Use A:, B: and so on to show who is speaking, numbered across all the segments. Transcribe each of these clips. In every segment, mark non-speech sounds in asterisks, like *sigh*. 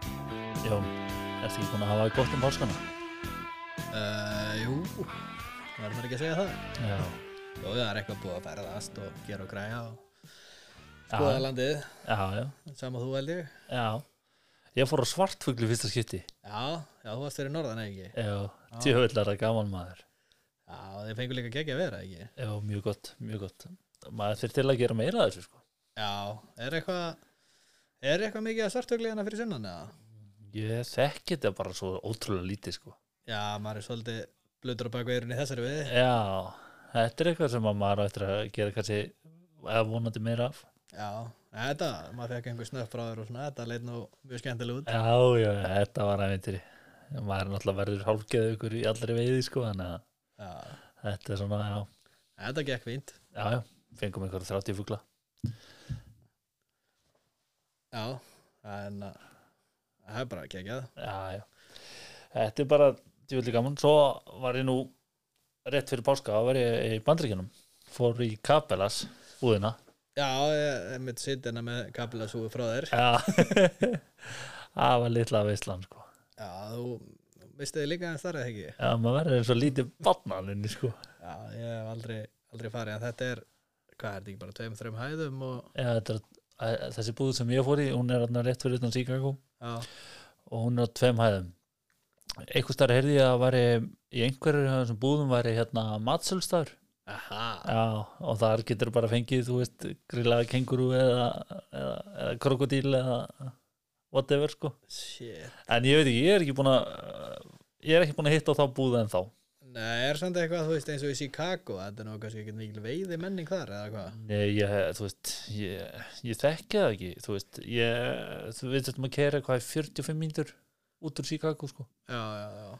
A: Já, ertu ekki búin að hafa það gott um páskana?
B: Uh, jú, var maður ekki að segja það?
A: Já.
B: Jó, það er eitthvað búið að ferðast og gera og græja og
A: Já.
B: skoða landið,
A: Já, já,
B: sama þú held ég.
A: já. Ég fór á svartfuglu fyrsta skipti.
B: Já, já, þú varst fyrir norðan, eða ekki?
A: Já, tjóðlega gaman maður.
B: Já, þeir fengur líka gegja að vera, ekki?
A: Já, mjög gott, mjög gott. Maður fyrir til að gera meira af þessu, sko.
B: Já, er eitthvað, er eitthvað mikið að svartugli hana fyrir sunnan, eða?
A: Ég þekki þetta bara svo ótrúlega lítið, sko.
B: Já, maður er svolítið blöður á baku eyrun í þessari við.
A: Já, þetta er eitthvað sem að maður á eftir að gera kannski eða vonandi meira af.
B: Já, þetta, maður fekk einhver snöpp frá þér og svona, þetta leit nú mjög skemmtileg út.
A: Já, já, þetta var aðeintýri. Maður er náttúrulega verður hálfgeðu ykkur í allri veiði, sko, þannig að
B: Já,
A: þetta er svona, já,
B: þetta gekk fínt.
A: já, já, fengum einhverja 30 fugla.
B: Já, en uh, það er bara geggjað.
A: já, já. Þetta er bara djúvillig gaman. Svo var ég nú rétt fyrir páska, þá var ég í bandryggjunum. Fór í Kapelas, búðina.
B: Já, ég, ég mitt sitt hérna með kapilasúi frá þér.
A: Já, *laughs* það var litla veistlan, sko.
B: Já, þú þú veistu þið líka en starrið ekki.
A: Já, maður verður eins og lítið barnalinni, sko.
B: Já, ég hef aldrei, aldrei farið en þetta er, hvað er þetta ekki bara tveim, þreim hæðum og,
A: Já, þetta er, að- þessi búð sem ég fór í, hún er þarna rétt fyrir utan Chicago
B: já,
A: og hún er á tveim hæðum. Einhvers þar heyrði ég að væri, í einhverjum af þessum búðum væri hérna matsölstafur.
B: aha,
A: Já, og þar getur bara fengið, þú veist, grillaða kenguru eða, eða, eða krokodíl eða whatever, sko.
B: shit.
A: En ég veit ekki, ég er ekki búin að, ég er ekki búin að hitta á þá búða en þá.
B: Nei, er samt eitthvað, þú veist, eins og í Chicago, þetta er nú kannski ekki mikil veiði menning þar eða hvað?
A: Nei, ég, þú veist, ég, ég þekki það ekki, þú veist, ég, þú veist, þetta maður kæra hvað er 45 mínútur út úr Chicago, sko.
B: Já, já, já.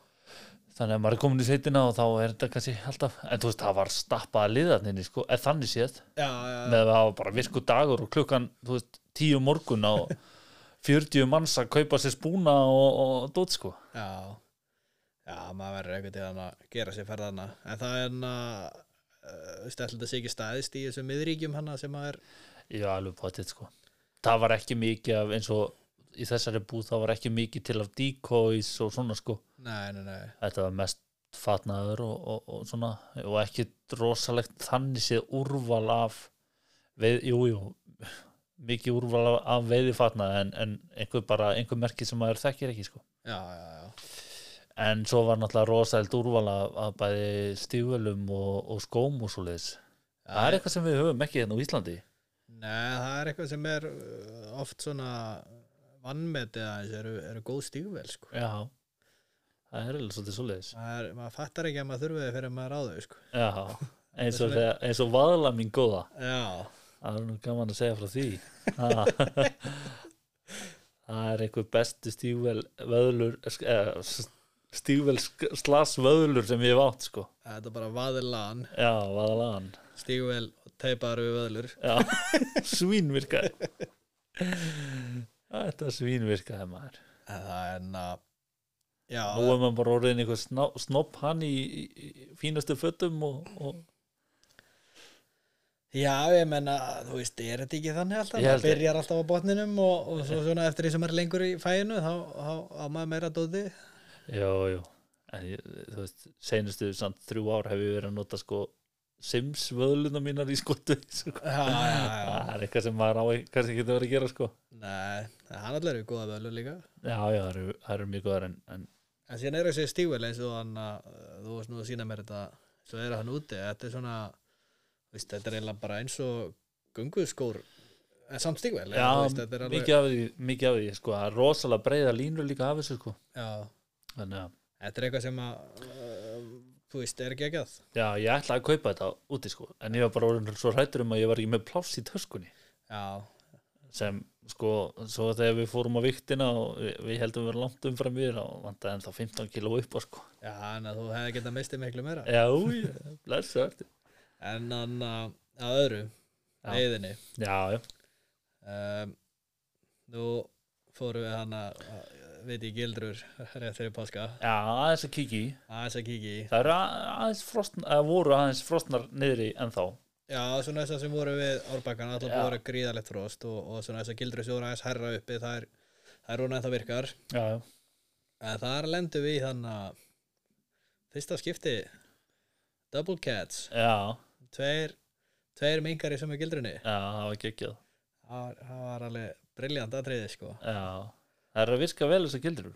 A: Þannig að maður er komin í sveitina og þá er þetta kannski alltaf, en þú veist, það var stappað að liða þarna inni, sko, eða þannig séð.
B: Já, já, já.
A: með að hafa bara virku dagur og klukkan þú veist, tíu um morgun á 40 manns að kaupa sér spúna og, og dót sko
B: Já, já, maður verður einhvern tíðan að gera sér ferðana en það er hérna, hann að uh, stæðlega sé ekki staðist í þessum miðríkjum hana sem maður,
A: já, alveg potið sko það var ekki mikið af eins og í þessari búð það var ekki mikið til af decoys og svona sko,
B: nei, nei, nei
A: þetta var mest fatnaður og, og, og svona og ekki rosalegt þannig séð úrval af veið, jú, jú mikið úrval af, af veiði fatnaði en, en einhver bara, einhver merki sem maður þekkir ekki sko
B: Já, já, já,
A: En svo var náttúrulega rosælt úrval af, af bæði stífölum og, og skóm og svo leiðis. Það er eitthvað sem við höfum ekki hérna á Íslandi.
B: nei, það er eitthvað sem er uh, oft svona vannmetið aðeins eru, eru góð stígvel sko.
A: Já. Það er alveg svolítið svo leiðis.
B: maður, maður fattar ekki að maður þurfi þið fyrir maður á þau sko.
A: Já. Eins og, þegar, eins og vaðla mín góða.
B: Já,
A: Það er nú gaman að segja frá því. Ha. Það er einhver bestu stífvel vöðlur, eh, stífvel slas vöðlur sem ég hef átt, sko.
B: þetta er bara vaðilan
A: Já, vaðlaðan.
B: stígvel og teipaður við vöðlur
A: Já, svínvirkaði *laughs* Þetta svínvirkaði maður
B: en það er hann að Já,
A: Nú er maður bara orðin einhver sná, snopp hann í, í, í fínastu fötum og, og
B: Já, ég menna, þú veist, er þetta ekki þannig alltaf?
A: Ég held
B: Það
A: ég.
B: byrjar alltaf á botninum og, og svo svona eftir því sem maður er lengur í fæinu þá þá á maður meira dóti.
A: Jó, jó En ég, þú veist, seinustu samt þrjú ár hef ég verið að nota sko Sims vöðluna mínar í skotu *laughs* sko.
B: Já, já, já.
A: Það er eitthvað sem maður á kannski getur verið að gera sko
B: Nei, hann allir eru góða völu líka.
A: Já, já, það eru, það eru mjög góðar en, en
B: En síðan er þessi stígvel eins og hann að eh, þú varst nú að sína mér þetta, svo er hann úti. Þetta er svona, þú veist, þetta er eiginlega bara eins og gunguskór, en samt stígvel. eða, þú veist,
A: já,
B: þetta er alveg,
A: mikið af því, mikið af því sko, það er rosalega breiða línur líka af þessu sko
B: Já,
A: Þannig að
B: þetta er eitthvað sem að, uh, þú veist, er ekki ekki að.
A: Já, ég ætlaði að kaupa þetta úti sko en ég var bara orðin svo hrættur um að ég var ekki með pláss í töskunni
B: Já,
A: sem sko, svo þegar við fórum á viktina og við, við heldum við erum langt umfram við og vandaði ennþá 15 kíló upp á sko
B: já, en að þú hefði getað mistið miklu meira.
A: Já, já, blessa
B: en hann að að öðru
A: Já.
B: veiðinni
A: Já, já,
B: um, nú fórum við hann að að- veit ég gildrur rétt fyrir páska
A: já, aðeins að kíkja í
B: aðeins að kíkja í
A: Það eru a- aðeins frostnar, eða voru aðeins frostnar niðri ennþá
B: já, svona þess að sem voru við árbakkan alltaf
A: Já.
B: búið að vera gríðalegt frost og, og svona þess að gildrur sem voru aðeins herra uppi það er það er rúna en það virkar
A: já, já,
B: en þar lendum við þannig að fyrsta skipti double cats
A: já,
B: tveir, tveir mingar í sömu gildrunni
A: já, það var geggjað
B: það var, það var alveg briljant atriði sko
A: já, það er að virka vel þessar gildur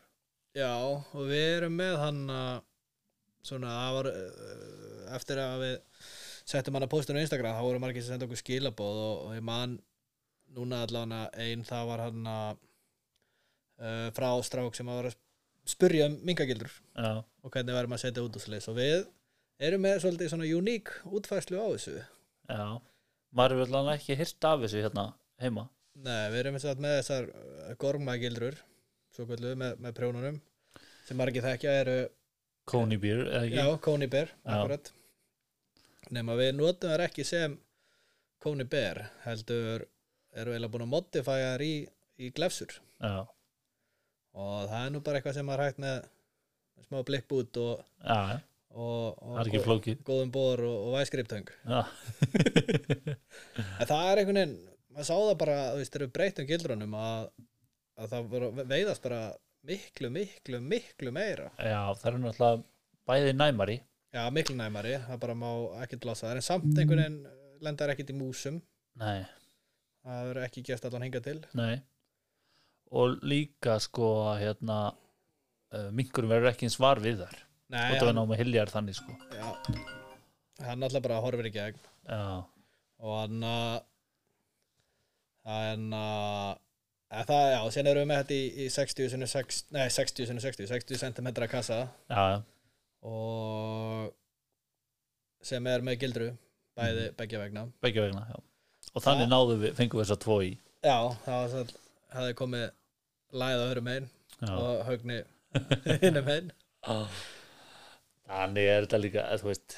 B: Já, og við erum með hann að svona, það var uh, eftir að við settum hann að postinu á Instagram, þá voru margir sem senda okkur skilabóð og, og ég man núna allan að einn, það var hann að uh, frá strák sem að var að spurja um mingagildur
A: já,
B: og hvernig verðum að setja út úr slis og við erum með svolítið svona uník útfærslu á þessu
A: já maður er vel alveg ekki hirt af þessu hérna heima
B: Nei, við erum eins og með þessar uh, gormagildrur svo kvöldu með, með prjónunum sem margir þekkja eru
A: Coney Beer, eða ekki?
B: Já, Kóni Bear,
A: Já.
B: akkurat nema við notum þær ekki sem Kóni Bear, heldur eru eiginlega búin að modify þær í, í glefsur
A: já,
B: og það er nú bara eitthvað sem maður er hægt með smá blikkbút og,
A: já, já.
B: og,
A: það er
B: og
A: ekki flókið
B: góðum bor og, og væskriptöng
A: já,
B: en það er einhvern veginn, maður sá það bara þú veist, þegar við breytum um gildrunum að, að það voru, veiðast bara miklu, miklu, miklu meira
A: já það er náttúrulega bæði næmari
B: já, miklu næmari, það bara má ekkert blasa þær en samt einhvern veginn lendar ekkert í músum
A: nei,
B: Það verður ekki gert allan hinga til.
A: nei og líka sko hérna uh, minkurum verður ekki eins var við þar
B: Nei,
A: og það er
B: hann,
A: náma hiljar þannig sko
B: já, hann alltaf bara horfir í gegn
A: já,
B: og hann að hann að að það, já, sen erum við með þetta í, í 60 sinni 60, nei, 60 sinni 60 60 cm kassa
A: já, já,
B: og sem er með gildru bæði, begja vegna
A: begge vegna já. og þannig
B: Já.
A: náðu við, fengum við þess að tvo í
B: Já, það var svo það hefði komið læða öðrum einn
A: já.
B: og högni *laughs* innum einn
A: þannig er þetta líka eh, þú veist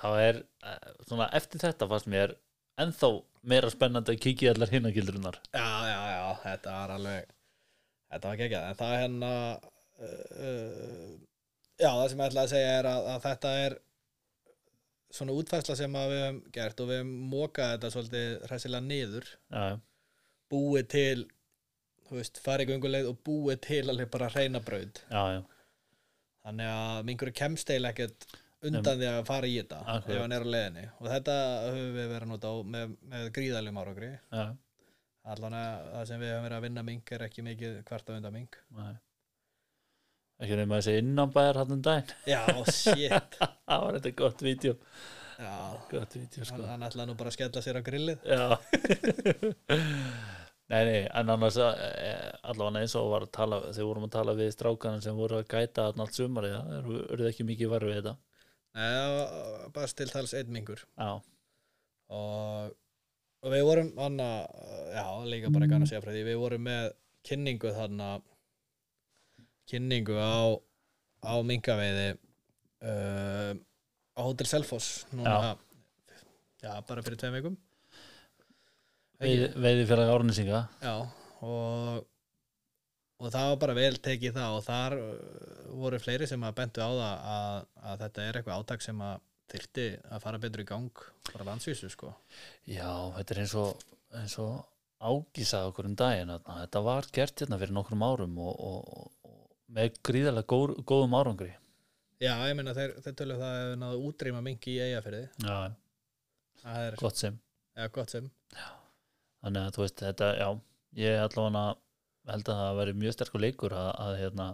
A: þá er, eh, svona eftir þetta fannst mér ennþá meira spennandi að kíkja í allar hinagildrunar
B: Já, já, já, þetta var alveg þetta var geggjað, en það er hérna uh, uh, já, það sem ég ætla að segja er að, að þetta er svona útfærsla sem að við hefum gert og við hefum mokað þetta svolítið hressilega niður,
A: já,
B: búið til þú veist, farið gönguleið og búið til alveg bara reyna braut
A: já, já,
B: þannig að mingur kemst eil ekkert undan því að fara í þetta
A: Akkurat.
B: ef hann er á leiðinni og þetta höfum við verið að nota á með, með gríðalegum árangri
A: já,
B: allan að það sem við höfum verið að vinna mink er ekki mikið kvarta undan mink
A: já. ekki nefnum að þessi innanbæðar hann um daginn *laughs*
B: já, shit
A: það var þetta gott vídeo
B: já,
A: gott vídeo
B: hann,
A: sko
B: hann ætlaði nú bara að skella sér á grillið
A: já *laughs* nei, nei, en annars eh, allavega eins og var að tala þegar vorum að tala við strákanum sem voru að gæta þarna allt sumari, það eru urðu ekki mikið varfið þetta
B: Nei, það var bara til tals einn mingur
A: já,
B: og, og við vorum hann að, já, líka bara gana að segja frá því við vorum með kynningu þarna kynningu á á minkaveiði uh, á Hotel Selfoss núna, já. bara fyrir tveim vikum
A: Veiði, veiði félag árnisinga
B: Já, og og það var bara vel tekið það og þar uh, voru fleiri sem að bentu á það að, að þetta er eitthvað átak sem að þyrfti að fara betur í gang bara á landsvísu sko
A: já, þetta er eins og, eins og ágísað okkur um daginn þarna. þetta var gert hérna fyrir nokkrum árum og, og, og með gríðarlega gór, góðum árangri
B: Já, ég meina þeir, þeir tölum það hefur náðu útrýma mingi í eigafyrði
A: já,
B: það er
A: gott sem
B: ja, gott sem
A: þannig að þú veist þetta, já ég allavega held að það veri mjög sterkur leikur að, að hérna,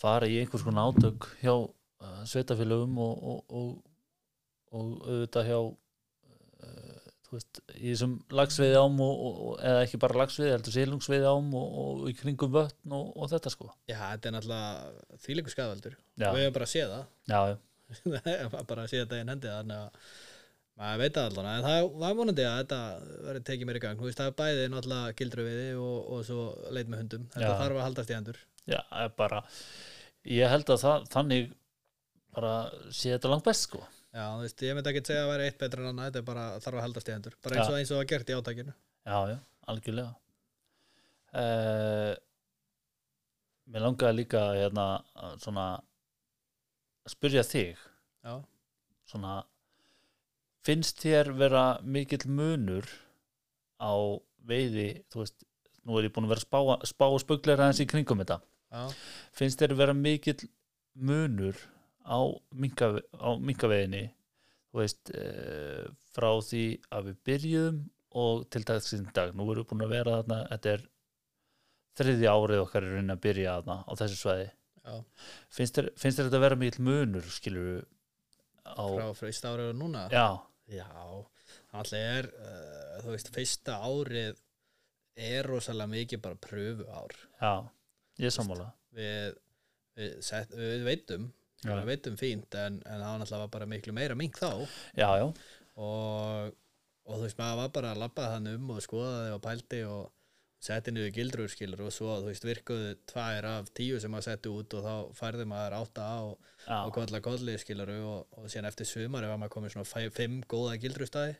A: fara í einhvers konar átök hjá uh, sveitafélögum og, og, og, og auðvitað hjá uh, þú veist, í þessum lagsveiði ám og, og, og- eða ekki bara lagsveiði, heldur sílungsveiði ám og, og í kringum vötn og, og þetta sko
B: Já, þetta er náttúrulega þvílíku skadaldur
A: já, já,
B: við hefum bara séð það
A: já,
B: bara séð þetta í hendi þannig að maður veit það allan en það var vonandi að þetta verið tekið mér í gang Þú veist, það er bæði náttúrulega gildru við og, og svo leit með hundum þetta
A: Já.
B: þarf að haldast í hendur
A: já eh, bara, ég held að það, þannig bara sé þetta langt best sko
B: Já, þú veist, ég myndi ekki segja að vera eitt betra en annað, þetta er bara þarf að heldast í hendur bara eins og eins og var gert í átakinu
A: Já, já, algjörlega uh, Mér langaði líka hérna, að svona að spyrja þig
B: Já,
A: svona, finnst þér vera mikill munur á veiði þú veist, nú er ég búin að vera að spá, spá og spugleira aðeins í kringum þetta
B: já,
A: finnst þér vera mikill munur á, minka, á minkaveginni þú veist eh, frá því að við byrjuðum og til dagsinn í dag nú erum við búin að vera þarna þetta er þriðja árið okkar er raunin að byrja þarna á þessu svæði
B: Já.
A: finnst þér, finnst þér þetta vera mikill munur skilur við á,
B: frá fyrsta árið og núna
A: já,
B: Já, alltaf er uh, þú veist, fyrsta árið er rosalega mikið bara pröfu ár
A: já, ég er sammála
B: við, við, set, við veitum
A: Já.
B: við veitum fínt en, en það var náttúrulega bara miklu meira mink þá
A: já, já,
B: og, og þú veist, maður var bara að labba hann um og skoðaði og pældi og setti niður gildrúrskilur og svo þú veist, virkuðu tvær af tíu sem maður setti út og þá færði maður átta á
A: já,
B: og kolla kolli skiluru og, og síðan eftir sumari var maður komið svona fæ, fimm góða gildrústæði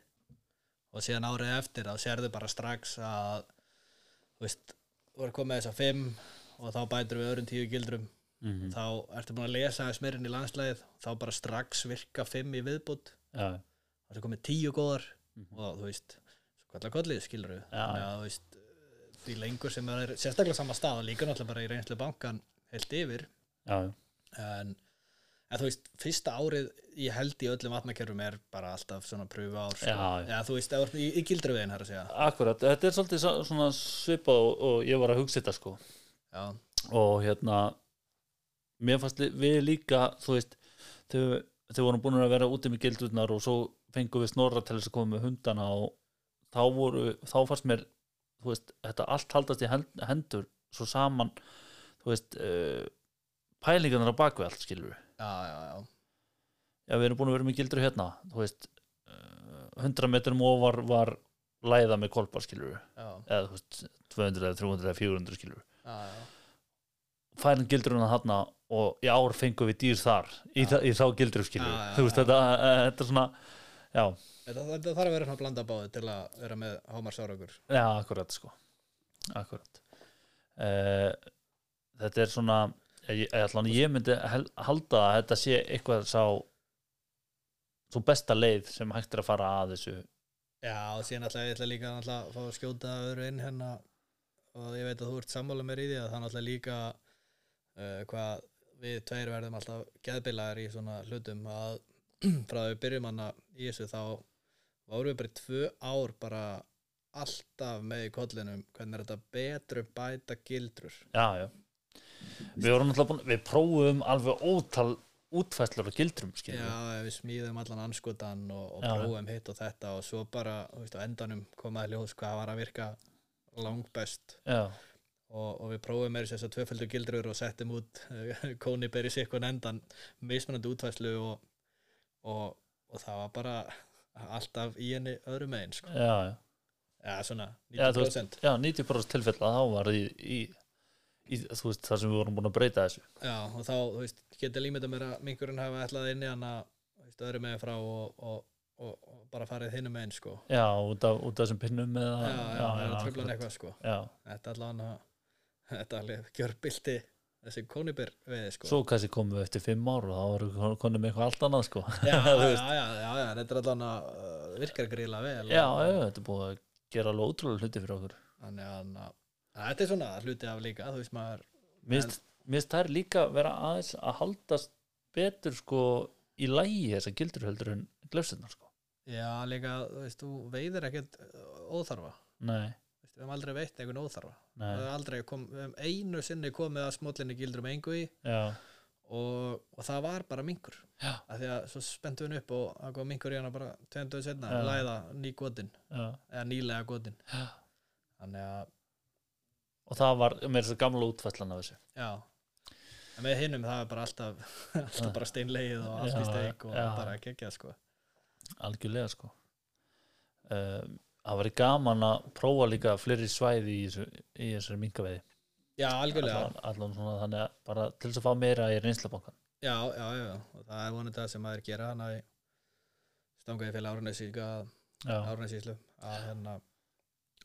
B: og síðan árið eftir þá sérðu bara strax að þú veist, þú er komið þess að fimm og þá bætur við öðrum tíu gildrum
A: mhm,
B: þá ertu búin að lesa aðeins meirinn í landslæðið þá bara strax virka fimm í viðbútt
A: já,
B: það er komið tíu góðar og þú veist, svo kalla kollið skilur við
A: Mhm. Já.
B: þannig að þú veist, því lengur sem það er sérstaklega sama stað og líka náttúrulega bara í reynslu bankan heilt yfir
A: já, já,
B: en, en þú veist, fyrsta árið ég held í öllum vatnakerfum er bara alltaf svona pröfu ár sko.
A: Já, já.
B: Eða, þú veist, ef þú ert í, í gildruvegin hér að segja
A: akkurat þetta er svolítið svo- svona svipað og, og ég var að hugsa þetta sko
B: já,
A: og hérna mér fannst li- við líka þú veist, þau, þau vorum búin að vera úti með gildurnar og svo fengum við snorra til þess að koma með hundana og þá voru, þá fannst mér þú veist, þetta allt haldast í hen- hendur svo saman þú veist, uh, pælingarnar á bakvið allt skilur við,
B: já, já, já,
A: já við erum búin að vera með gildur hérna, þú veist uh, 100 metrum ofar var læða með kolpar skilur við,
B: já,
A: eða þú veist 200 eða 300 eða 400 skilur við
B: já, já.
A: færin gildruna þarna og í ár fengum við dýr þar í,
B: Já.
A: þa í þá gildru skilju
B: Já, já,
A: þú veist
B: já.
A: þetta, eh, þetta er svona já,
B: Þetta, þetta þarf að vera svona blanda báði til að vera með hámarsárakur
A: já, akkurat sko akkurat uh, þetta er svona ég, ég- allan ég myndi hel, halda að þetta sé eitthvað sá svo besta leið sem hægt er að fara að þessu
B: Já, og síðan alltaf ég ætla líka alltaf að fá að skjóta öðru inn hérna og ég veit að þú ert sammála mér í því að það er alltaf líka uh, hvað við tveir verðum alltaf geðbilaðir í svona hlutum að *clears throat* frá að við byrjum hana í þessu þá vorum við bara í tvö ár bara alltaf með í kollinum hvernig er þetta betru bæta gildrur
A: já, já við vorum alltaf búin, við prófum alveg ótal útfæslur og gildrum skilju
B: Já, við smíðum allan anskotan og, og
A: Já.
B: prófum hitt og þetta og svo bara, þú veist, á endanum komaði ljós hvað var að virka langbest
A: já,
B: og, og við prófum með þess að tvöföldu gildrur og settum út eh, *laughs* kóni beri sér hvern endan mismunandi útfæslu og, og, og það var bara alltaf í henni öðrum megin sko.
A: já, já.
B: ja, svona
A: Já, þú
B: 90%
A: já, 90% tilfella þá var í, í, í þú veist, þar sem við vorum búin að breyta þessu
B: já, og þá þú veist, geti límita mér að minkurinn hafa ætlað inn í hann að öðrum megin frá og, og, og, og bara farið hinum megin sko.
A: já, út af, út af þessum pinnum eða,
B: já, já, já, já,
A: akkurat.
B: tröflan eitthvað sko.
A: já.
B: þetta allan að þetta alveg gjörbildi þessi kónibir veið sko.
A: svo kannski komum við eftir fimm ár og þá varum konum með eitthvað allt annað sko. *laughs*
B: já, já,
A: þú veist.
B: já, já, já, já, þetta er allan að uh, virkar gríla vel
A: já, já, þetta er búið að gera alveg ótrúlega hluti fyrir okkur
B: þannig að hann að- að þetta er svona hluti af líka þú veist maður
A: minnst minnst þær líka vera aðeins að haldast betur sko í lægi þessar gildur heldur en glöfsirnar sko
B: já líka þú veist þú veiðir ekkert uh, óþarfa Þú
A: nei,
B: veist, við höfum aldrei veitt einhvern óþarfa
A: nei,
B: við höfum aldrei kom, við höfum einu sinni komið að smóllinni gildrum engu í
A: já,
B: og, og það var bara minkur
A: Já.
B: af því að svo spenntu hún upp og það kom minkur í hana bara tvenduð setna
A: Já.
B: læða ný gotin
A: já
B: eða nýlega gotin
A: Já.
B: þannig að
A: og það var með þessar gamla útfæslan af þessu
B: Já En með hinnum það er bara alltaf, *laughs* alltaf bara steinlegið og allt
A: Já,
B: í steik og
A: já.
B: bara geggjað sko
A: algjörlega sko um, það væri gaman að prófa líka fleiri svæði í, þessu, í þessari minkaveiði
B: Já, algjörlega,
A: allan, allan svona þannig að bara til þess að fá meira í reynslubankan
B: já, já, já, já. og það er vonandi það sem maður gera hann að stangaði fyrir Árnesíka
A: já,
B: Árnesíslu að hérna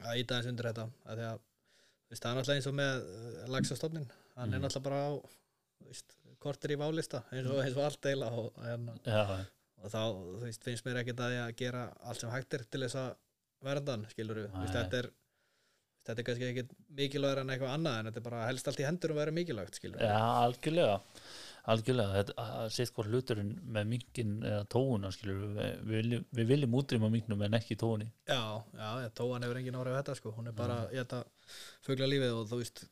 B: að íta þess undir þetta að því að þú veist, það er náttúrulega eins og með lagsastofnin hann er
A: Mhm.
B: náttúrulega bara á þú veist, kortir í válista eins og, eins og allt deila og, hérna,
A: já,
B: og þá þú veist, finnst mér ekkert að ég að gera allt sem hægt er til þess að verðan skilur við,
A: Nei.
B: þetta er þetta er kannski ekkit mikilvægur en eitthvað annað en þetta er bara helst allt í hendur um að vera mikilvægt skilur
A: Já, algjörlega algjörlega, þetta sétt hvort hluturinn með minkin eða tóuna skilur við, við, viljum, við viljum útrýma minknum en ekki tóunni
B: já, já, já tóan hefur engin áhrif á þetta sko hún er bara, ég þetta fugla lífið og þú veist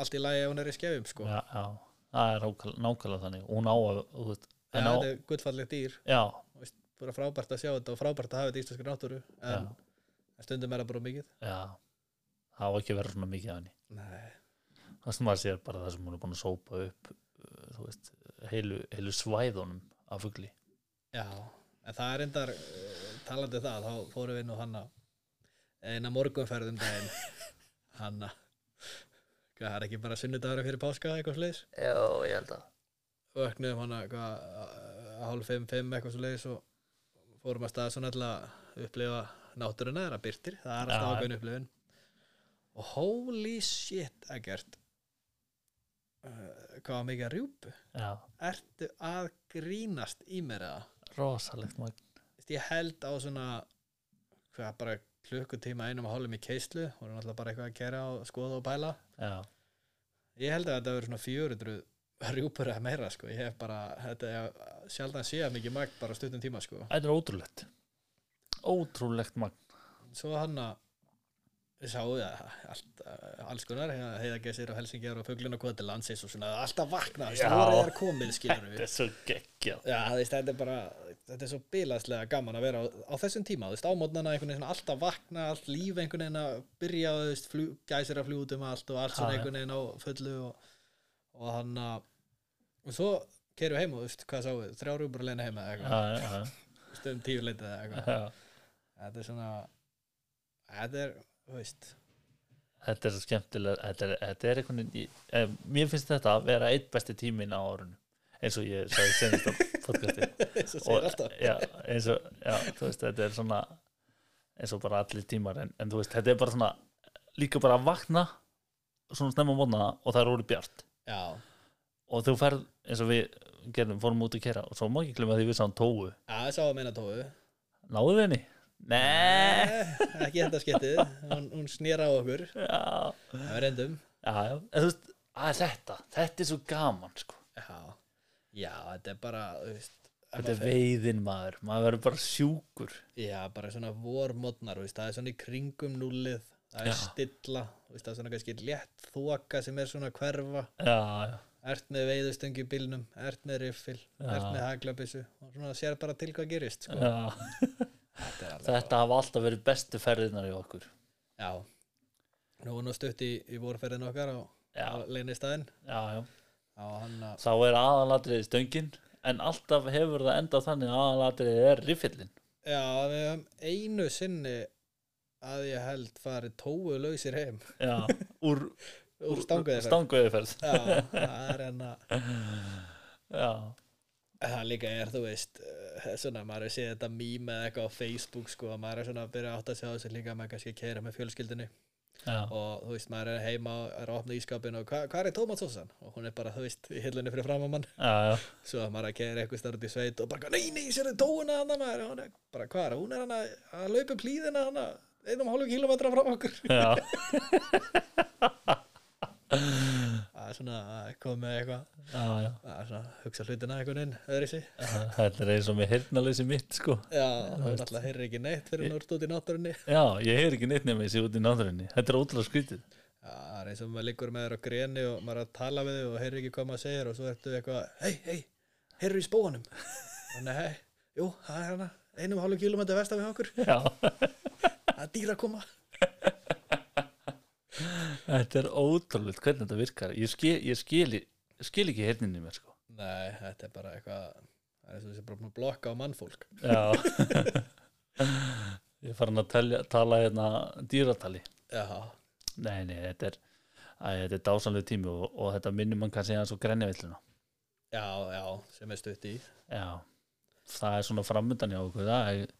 B: allt í lagi ef hún er í skefjum sko já,
A: já, já, það er nákvæm- nákvæmlega þannig hún á að, þú veist, en á,
B: þetta er guttfallegt dýr
A: já,
B: þú veist, bara frábært að sjá þetta og frábært að hafa þetta í íslenskri náttúru en, en stundum er það bara of mikið
A: já það á ekki að vera svona mikið af henni
B: Nei.
A: það sem maður sér bara það sem hún er búin að sópa upp uh, þú veist, heilu, heilu svæðunum af fugli
B: já, en það er endar talandi um það, þá fórum við nú hann að eina morgunferðum *laughs* daginn hann að hvað það er ekki bara sunnudagur fyrir páska eitthvað sliðis
A: Já, ég held að
B: vöknuðum hann að hálf fimm, fimm eitthvað svo leiðis og fórum að staða svona alltaf að upplifa náttúruna þeirra byrtir, það er alltaf
A: Já.
B: ákveðin upplifun og holy shit ekkert uh, hvað var mikið að rjúpu
A: Já,
B: ertu að grínast í mér eða
A: rosalegt magn
B: Veist, ég held á svona hvað bara klukkutíma einum og hálfum í keislu og er náttúrulega bara eitthvað að gera og skoða og pæla
A: Já,
B: ég held að þetta verður svona 400 rjúpur eða meira sko ég hef bara, þetta er sjaldan séð mikið magt bara á stuttum tíma sko
A: þetta er ótrúlegt Ótrúlegt magn
B: svo hann að ég sá það, allt, eh, alls konar heiða gæsir og helsingjar og fuglun og kvöti landsins og svona alltaf vakna,
A: Já.
B: snúrið er komið skilur við
A: Þetta er svo geggjað
B: Já, þú veist, þetta er bara, þetta er svo bilaðslega gaman að vera á, á þessum tíma, þú veist, ámótnana einhvern veginn svona alltaf vakna, allt líf einhvern veginn að byrja, þú veist, flú, gæsir að fljúga út um allt og allt
A: Já,
B: svona
A: já.
B: einhvern veginn á fullu og, og hann að, og svo keirum heim og, þú veist, hvað sáu, við, þrjá rúbur leina heima eða eitthvað,
A: Já, já,
B: þú veist, um tíu leitið eða eitthvað,
A: já
B: þetta er svona, þetta er, þú veist, *laughs*
A: Þetta er svo skemmtilega Þetta er, þetta er einhvern veginn ég- eh, Mér finnst þetta að vera eitt besti tíminn á árunum eins og ég sagði senast á podcasti
B: eins og
A: og,
B: segir alltaf,
A: já, eins og, já, þú veist, þetta er svona eins og bara allir tímar en, en þú veist, þetta er bara svona líka bara að vakna svona snemma mótna og það er orðið bjart
B: já,
A: og þú ferð eins og við gerðum, fórum út að kera og svo má ekki glemma því við sáum tóu
B: já, það sá að meina tófu, Eh,
A: náðu við henni? Nei
B: ekki þetta skiptið, hún, hún snýra á okkur,
A: já,
B: það er endum,
A: já, já, en þú veist að þetta, þetta er svo gaman sko.
B: Já, já, þetta er bara þú veist, ef
A: þetta
B: maður
A: er
B: fer-
A: veiðin maður maður verður bara sjúkur
B: Já, bara svona vormodnar, þú veist, það er svona í kringum núlið, það er
A: Já.
B: stilla þú veist, það er svona kannski létt þoka sem er svona að hverfa,
A: já, já,
B: ert með veiðustöng í bílnum, ert með riffil
A: Já.
B: ert með haglabissu og svona sér bara til hvað gerist sko.
A: já.
B: þetta er alveg
A: þetta hafa alltaf verið bestu ferðinar í okkur
B: Já, nú er nú stutt í, í vorferðin okkar á, á
A: já,
B: leinistæðin
A: já, já
B: á hann að,
A: þá er aðalatriði stöngin en alltaf hefur það enda þannig að aðalatriði er riffillin
B: já, við höfum einu sinni að ég held farið tóu lausir heim
A: já, úr,
B: úr stanguðið
A: stanguðiðferð
B: Já, það er enna
A: já,
B: Það líka er, þú veist eh, svona, maður er séð þetta mím eða eitthvað á Facebook sko, að maður er svona að byrja að átta sig á þessu líka maður kannski keira með fjölskyldinu
A: já,
B: og þú veist, maður er heima og er að opna ískapin og hva, hvað er tómatsósan? Og hún er bara, þú veist, í hillunni fyrir framan mann
A: já, já.
B: svo að maður er að keira eitthvað starf út í sveit og bara, nei, nei, sér þið tóuna hana maður og hún er bara, hvað er, hún er hana að laupa upp hlíðina hana, einum og hálfum kílómetra frá okkur *laughs*
A: já.
B: að svona, að koma með eitthvað
A: já, já.
B: að svona, hugsa hlutina einhvern veginn, öðri
A: Þetta er eins og með hirnaleysi mitt sko.
B: Já, þú náttúrulega heyrir ekki neitt fyrir náttúrulega út í náttúrunni
A: Já, ég hefur ekki neitt nefnir þessi út í náðurinni Þetta er ótrúlega skrítið
B: Já, það er eins og maður liggur með þér á greni og maður er að tala við þig og heyrir ekki hvað maður segir og svo ertu eitthvað, hei, hei, heyrir í *laughs* spóanum Þannig, hei, jú, það er hana einum og hálfum kílómetri vestan við okkur
A: Já, *laughs*
B: það er dýra að koma
A: þetta er ótrúlega hvernig þetta virkar Ég skil, ég skil, skil ekki hirninni mér sko.
B: Nei, þetta er bara eitthvað það er eins og þessi bara búin að blokka á mannfólk
A: Já *laughs* Ég er farin að telja, tala hérna dýratali
B: Já,
A: Nei, nei, þetta er Æ, þetta er dásanlega tími og, og þetta minnum mann kannski hans og grenjavilluna
B: já, já, sem er stutt í
A: Já, það er svona framundan hjá okkur það er,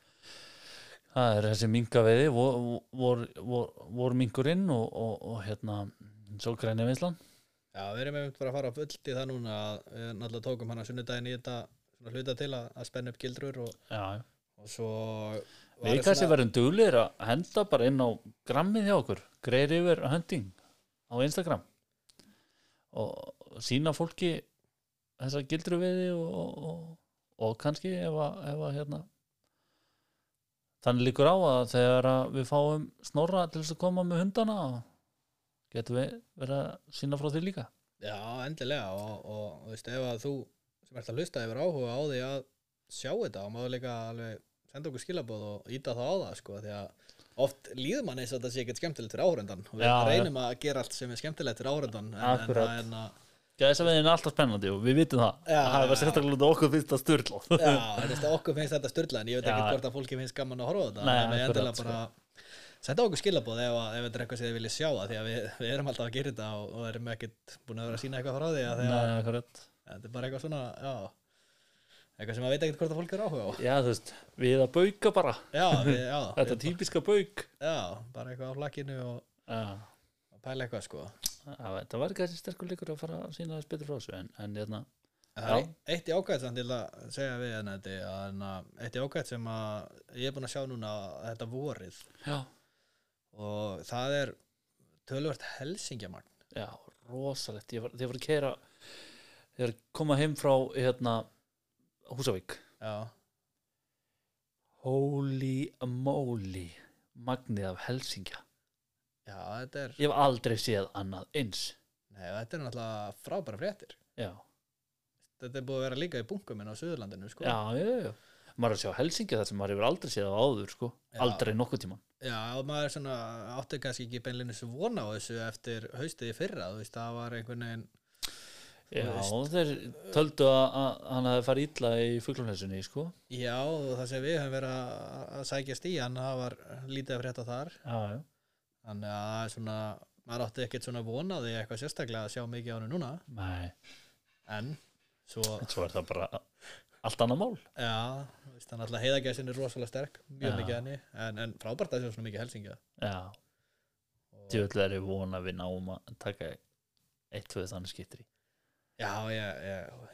A: það er þessi minkaveiði vor, vor, vor, vor minkurinn og, og, og hérna svo grenjavillan
B: Já, við erum einmitt bara að fara fullt í það núna að við náttúrulega tókum hana sunnudaginn í þetta svona hluta til að, að spenna upp gildrur og,
A: Já, já.
B: og svo var
A: Við
B: ég
A: kannski
B: svona-
A: verðum duglir að henda bara inn á grammið hjá okkur, greir yfir hunting á Instagram og sína fólki þessa gildru veiði og, og, og, og kannski ef að, ef að hérna þannig líkur á að þegar að við fáum snorra til þess að koma með hundana getum við verið að sína frá því líka
B: Já, endilega og, og, og veist, ef að þú sem ert að hlusta yfir áhuga á því að sjá þetta og maður líka alveg senda okkur skilabóð og íta þá á það sko, því að oft líður mann eins og þetta sé ekkert skemmtilegt fyrir áhörundan og við
A: Já,
B: reynum að gera allt sem er skemmtilegt fyrir áhörundan en, en
A: Akkurat.
B: það er enn að
A: Gæðis að veiðin er alltaf spennandi og við vitum það
B: Já,
A: það
B: já,
A: var sérstaklega út af okkur fyrst að styrla
B: Já, en veist, okkur finnst þetta styrla en ég veit
A: Já.
B: ekki hvort að fólki finnst gaman að horfa á þetta
A: Nei,
B: en við
A: akkurat,
B: endilega
A: sko.
B: bara senda okkur skilabóð ef, að- ef þetta er eitthvað sem þið viljið sjá að því að við, við erum alltaf að gera þetta og, og erum ekkert búin að vera að sína eitthvað frá því að því að
A: Nei, akkurat
B: þetta er bara eitthvað svona já, eitthvað sem maður veit ekkert hvort að fólk er áhuga á
A: Já, þú veist, við að bauka bara *laughs*
B: já, við, já,
A: Þetta
B: við,
A: típiska bauk
B: já, bara eitthvað á flakkinu og,
A: Já,
B: og pæla eitthvað sko en
A: þetta var kannski sterkur líkur að fara að sína þess betur frá þessu en, en hérna,
B: það er
A: Já.
B: eitt í ágætt samt til að segja við en þetta en að, hérna, eitt í ágætt sem að ég er búin að sjá núna þetta vorið
A: já,
B: og það er tölvört helsingjamagn
A: já, rosalegt ég var, ég var að keira ég var að koma heim frá hérna, Húsavík
B: já,
A: Holy moly magnið af Helsingja
B: já, þetta er
A: ég hef aldrei séð annað eins
B: nei, þetta er náttúrulega frábæra fréttir
A: já, þetta
B: þetta er búið að vera líka í bunkuminn á Suðurlandinu sko
A: já, já, já, já maður er að sjá Helsingja þar sem maður hefur aldrei séð á áður sko,
B: Já.
A: aldrei nokkuð tíman
B: Já, og maður svona átti kannski ekki beinlinnis vona á þessu eftir haustið í fyrra, þú veist, það var einhvern veginn
A: já,
B: veist.
A: þeir töldu að, að hann hafi farið illa í fuglunhessunni sko,
B: Já, og það sem við höfum verið að að sækjast í, hann það var lítið að frétta þar
A: já, já
B: þannig að það er svona, maður átti ekkert svona vonaði eitthvað sérstaklega að sjá mikið á hennu núna
A: nei,
B: en svo,
A: en svo er það bara allt annað mál
B: já, þú veist, hann alltaf heiðagæsin er rosalega sterk, mjög
A: Já.
B: mikið henni en, en frábært að sjá svona mikið helsingja
A: Já,
B: og, já,
A: djöðlega er ég von að við náum að taka eitt, tvö þannig skiptir í
B: ég, ég,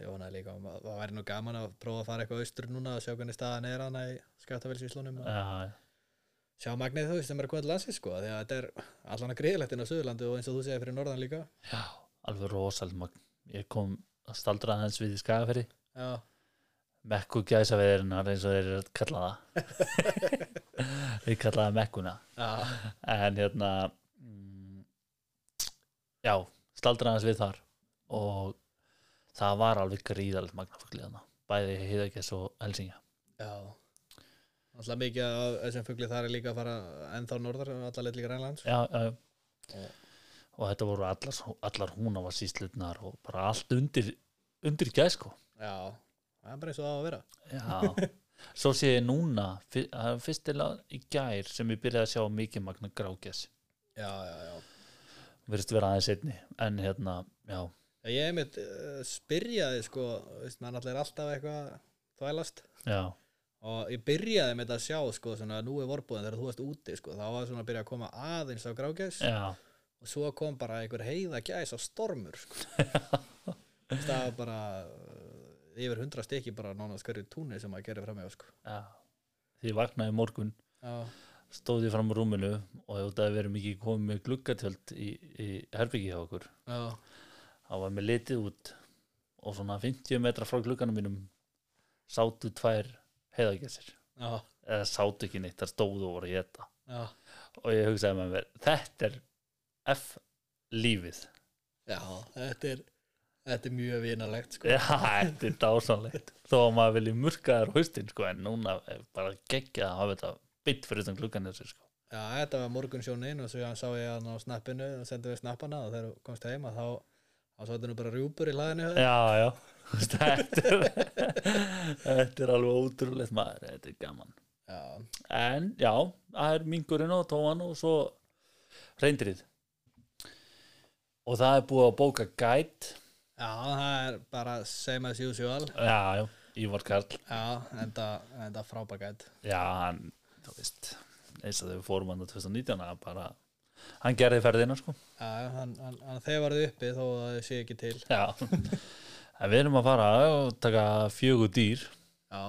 B: ég vonaði líka og ma- það væri nú gaman að prófa að fara eitthvað austur núna og sjá hvernig staðan er hann í skattafélsvíslunum og
A: Já,
B: sjá magnið þú veist sem er hvað landsins sko, því að þetta er allan að gríðlegt inn á Suðurlandu og eins og þú segir fyrir norðan líka
A: já alveg rosalega magn Ég kom að staldra hans við í skagaferi
B: já,
A: Mekku gæsa veðirinnar eins og þeir eru að kalla *laughs* það Við kalla það mekkuna
B: já.
A: En hérna mm, Já, staldra hans við þar og það var alveg gríðalegt magnafugli þarna bæði heiðakess og Helsingja
B: Já Alltaf mikið af þessum fugli þar er líka að fara ennþá um norðar, allar leitt líka rænlands
A: já, já, já.
B: Já.
A: og þetta voru allar, allar húnavarsýslutnar og bara allt undir, undir gæð sko
B: Já, það er bara eins og það á að vera
A: já, *laughs* svo sé ég núna fyr- það var fyrst til að í gær sem ég byrjaði að sjá mikið magna grágæs
B: Já, já, já
A: verðist vera aðeins einni en hérna, já,
B: Ég einmitt uh, spyrjaði sko, veist, mann allir alltaf eitthvað þvælast
A: já,
B: og ég byrjaði með þetta að sjá sko, svona, nú er vorbúðin þegar þú varst úti sko, þá var svona að byrja að koma aðeins á grágæs
A: já
B: og svo kom bara einhver heiða gæs á stormur *laughs* sko. Veist, það var bara uh, yfir hundra stykki bara nánast hverju túnir sem maður gerir fram með sko.
A: já, því ég vaknaði í morgun
B: Já,
A: stóði fram úr rúminu og ég út að við erum ekki komið með gluggatjöld í, í herbyggi hjá okkur
B: já,
A: það var mér litið út og svona 50 metra frá glugganum mínum sátu tvær heiðagessir
B: já,
A: eða sátu ekki neitt, það stóðu og voru að geta
B: já.
A: og ég hugsaði með mér, þetta er F lífið *laughs*
B: Já, þetta er, þetta er mjög vinalegt sko.
A: já, þetta er dásanlegt þó að maður vilji murka þær á haustin sko, en núna er bara geggjað að hafa þetta bytt fyrir þessum gluggan þessu sko.
B: Já, þetta var morgunsjónin og svo hann sá ég hann á snappinu og sendi við snappana og þegar þú komst heima þá þá svo þetta nú bara rjúpur í hlaðinu hjá þér.
A: já, já *laughs* Þú veist, þetta er, *laughs* þetta er alveg ótrúlegt maður, þetta er gaman
B: Já,
A: en já, það er mingurinn og tóan og svo reyndirið og það er búið að bóka gæt
B: já, það er bara same as usual
A: já, já, Ívar Karl
B: Já, enda, enda frábækætt
A: já, hann, þú veist eins og þegar við fórum hann á 2019 hann bara, hann gerði ferðina sko
B: Já, hann, hann, hann þefarði uppi þó að það sé ekki til
A: já, *laughs* en við erum að fara og taka fjögur dýr
B: Já,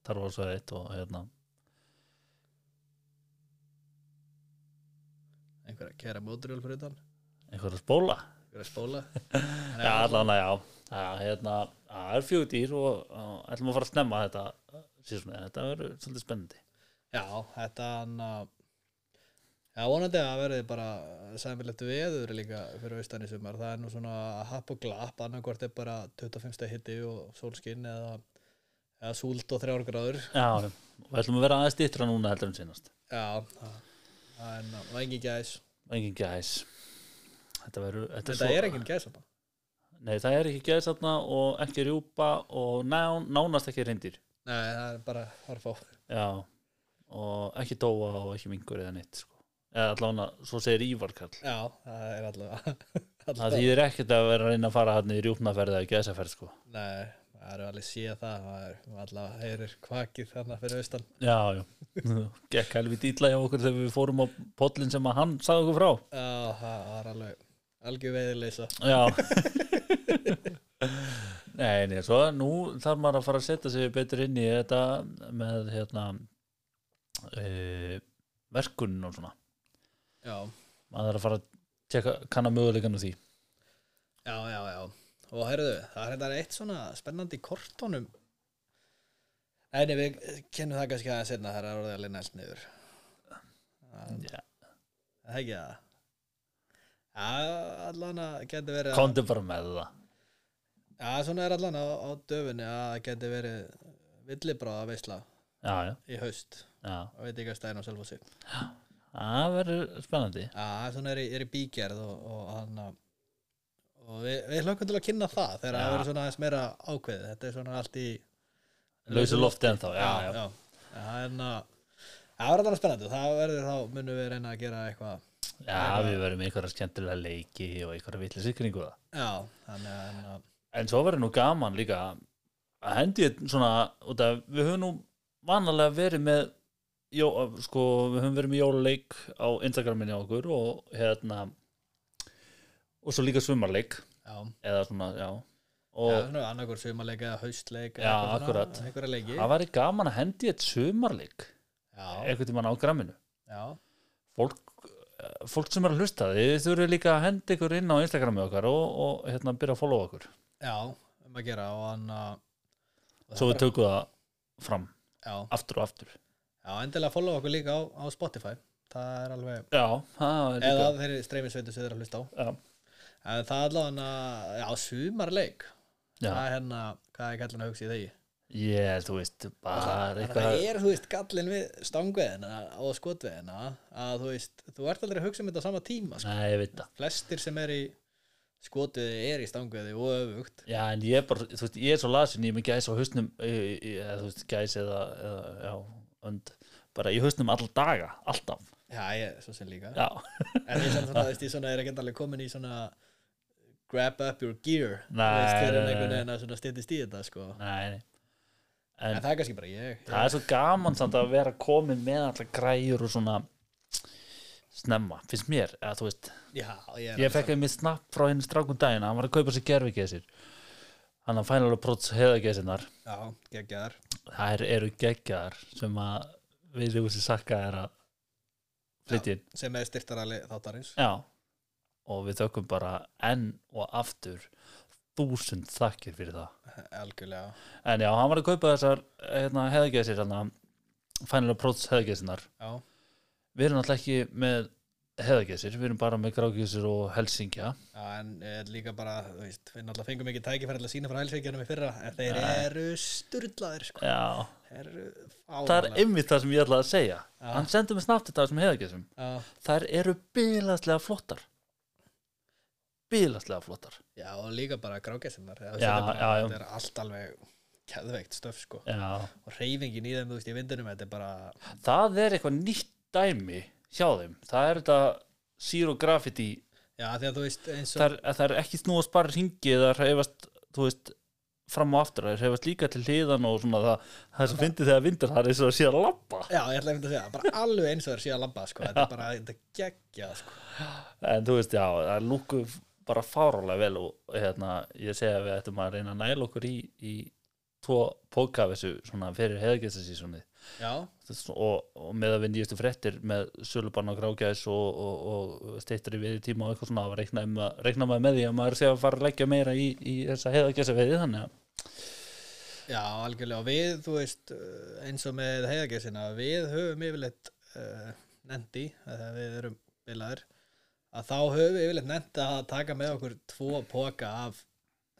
A: Star Wars og eitt og hérna
B: einhverja kæra móturjól fyrir utan
A: einhverja spóla
B: einhverja
A: *laughs*
B: spóla
A: Já, allan að já Já, hérna, það er fjögur dýr og og ætlum að fara að snemma þetta síðan, þetta verður svolítið spennandi
B: já, þetta hann að já, vonandi að verði bara sæmilegt veður líka fyrir austan í sumar það er nú svona happ og glapp annarkvort er bara 25 steg hitti og sólskinn eða, eða súld og þrjár gráður
A: Já, og ætlum að vera aðeins dýttra núna heldur en sínast
B: já, það það er ná- og engin gæs
A: og engin gæs Þetta verður Þetta,
B: þetta er engin gæs þarna.
A: Nei, það er ekki gæs þarna og ekki rjúpa og ná, nánast ekki reyndir
B: nei, það er bara harfa á
A: Já, og ekki dóa og ekki mingur eða neitt sko. eða allan að, svo segir Ívar Karl
B: já, það er allavega *laughs*
A: það
B: allavega-
A: þýðir ekkert að vera að reyna að fara hann í rjúpnaferð eða gæsaferð sko.
B: nei, það eru alveg síða það það er allavega heyrir kvakið þarna fyrir austan
A: Já, já *laughs* Gekk helvið dýtla hjá okkur þegar við fórum á pollin sem að hann sagði okkur frá
B: Já, það var alveg algjör veiðileysa
A: Já *laughs* Nei, nei, svo nú þarf maður að fara að setja sig betur inn í þetta með hérna e, verkunn og svona
B: Já,
A: maður er að fara að tjekka, kanna möguleikann á því
B: já, já, já Og herðu, það er þetta eitt svona spennandi í kortónum Nei, nei, við kennum það kannski aðeins einna Það er orðið alveg nælt niður Það
A: Já.
B: er ekki það Já, allan að geti verið að-
A: Komdu bara með það
B: Já, svona er allan á, á döfunni að það geti verið villibráða veisla
A: Já, já,
B: í haust
A: já
B: og veit ekki að stæðin á selfósi
A: Það verður spennandi
B: Já, svona er, í- er í bígerð og, og hann að- og við, við hlökkum til að kynna það þegar það
A: Já.
B: verður svona aðeins meira ákveðið þetta er svona allt í
A: Lausu lofti ennþá, já, já,
B: já. En Það er ná- það verður alveg spennandi það verður þá munum við reyna að gera eitthvað
A: já, við verðum einhverja skemmtilega leiki og einhverja vitlega sikringu það
B: já, þannig að en að-
A: En svo verður nú gaman líka að hendi ég svona út að við höfum nú vanalega verið með jó, sko, við höfum verið með jóluleik á Instagraminni á okkur og hérna og svo líka svumarleik
B: já,
A: eða svona, já
B: já,
A: og
B: svona annarkur sumarleik eða haustleik
A: Já,
B: eða eitthvað svona,
A: akkurat.
B: einhverja leiki
A: það væri gaman að hendi ég sumarleik
B: já,
A: einhvern tímann á gramminu
B: já,
A: fólk, eh, fólk sem er að hlusta þið þurfið líka að henda ykkur inn á Instagrami okkar og, og hérna byrja að followa okkur
B: já um að gera og hann að og
A: svo
B: það
A: við tökum það fram
B: bara- já,
A: aftur og aftur
B: já, endilega follow okkur líka á, á Spotify það er alveg
A: já, það er líka
B: eða þeirri streymisveitu sem þeir eru að hlusta á
A: já,
B: En það er allavega hann já, sumarleik
A: já.
B: Það er hérna, hvað er kallin að hugsa í þegi?
A: Ég, þú veist, bara
B: Það
A: eitthvað
B: er, þú veist, gallin við stangveðina og skotveðina að þú veist, þú ert aldrei að hugsa um þetta á sama tíma sko.
A: Nei, ég veit það
B: Flestir sem er í skotveði er í stangveði og öfugt
A: Já, en ég er bara, þú veist, ég er svo lasin ég er með gæs á hausnum eh, eh, eða, þú veist, gæs eða, eða já, önd bara í hausnum alla daga, alltaf
B: Já, ég, svo sem líka
A: Já, *laughs*
B: En ég, samt svona, þú veist, ég svona er ekki alveg komin í svona grab up your gear
A: Nei,
B: Þú veist,
A: nei,
B: þegar er einhvern
A: nei.
B: veginn að svona styttist í þetta sko.
A: nei, nei
B: En
A: En
B: það er kannski bara ég
A: það er svo gaman samt að vera komin með alltaf græjur og svona snemma, finnst mér eða, þú veist,
B: Já, ég er
A: ég fekk einmitt snapp frá henni strákum daginn, hann var að kaupa sér gerfikesir hann að fæna alveg próts heiðagesinnar,
B: Já, geggjaðar
A: þær eru geggjaðar sem að við lífum sér sakka er að flytja inn
B: sem er styrtarali þáttarins
A: já, og við þökkum bara enn og aftur þúsund þakkir fyrir það
B: Algjörlega
A: en já, hann var að kaupa þessar hérna, heiðagesir, hann að fæna alveg próts heiðagesinnar
B: Já,
A: við erum alltaf ekki með heðagesir, við erum bara með grákesir og helsingja
B: Já, en eh, líka bara, þú veist, við náttúrulega fengum ekki tækifæri til að sína frá hælsveikjunum í fyrra, en þeir eru sturlaðir, sko.
A: já,
B: Þeir eru
A: það er
B: fáanlega.
A: einmitt það sem ég ætlaði að segja hann sendi mig snabbt þetta sem heðagesum
B: Já,
A: þær eru bilaðslega flottar bilaðslega flottar
B: já, og líka bara grágesinnar. Já,
A: Já,
B: bara,
A: já, já.
B: Þetta er allt alveg keðveikt stöf, sko.
A: já.
B: Og reyfingin í þeim, þú veist, í vindunum, þetta er bara,
A: það er eitthvað nýtt dæmi hjá þeim, það er þetta zero graffiti,
B: já, því að þú veist, eins og,
A: það er, það er ekki snúast bara ringi eða reyfast, þú veist fram og aftur, það reyfast líka til hliðan og svona það, það er svo fyndið þegar vindur það er eins og að sé að labba
B: já, ég ætla einmitt að segja, bara alveg eins og þeir sé að lamba, sko. Þetta er bara, þetta er geggjað, sko.
A: en þú veist, já, það lúku bara fárálega vel og hérna, ég segja að við ættum að reyna að næla okkur í, í tvo póka af þessu svona fyrir heðgæstasísonið
B: já,
A: og, og með að við nýjastu fréttir með sölubann á grágæs og, og, og steyttri við tíma og eitthvað svona að reikna, um að, reikna maður með því að maður sé að fara að leggja meira í, í þessa heðagæsa veiði þannig að
B: já, algjörlega og við, þú veist, eh, eins og með heiðagessina, við höfum yfirleitt uh, nendi, þegar við erum bilaðir, að þá höfum við yfirleitt nendi að taka með okkur tvo poka af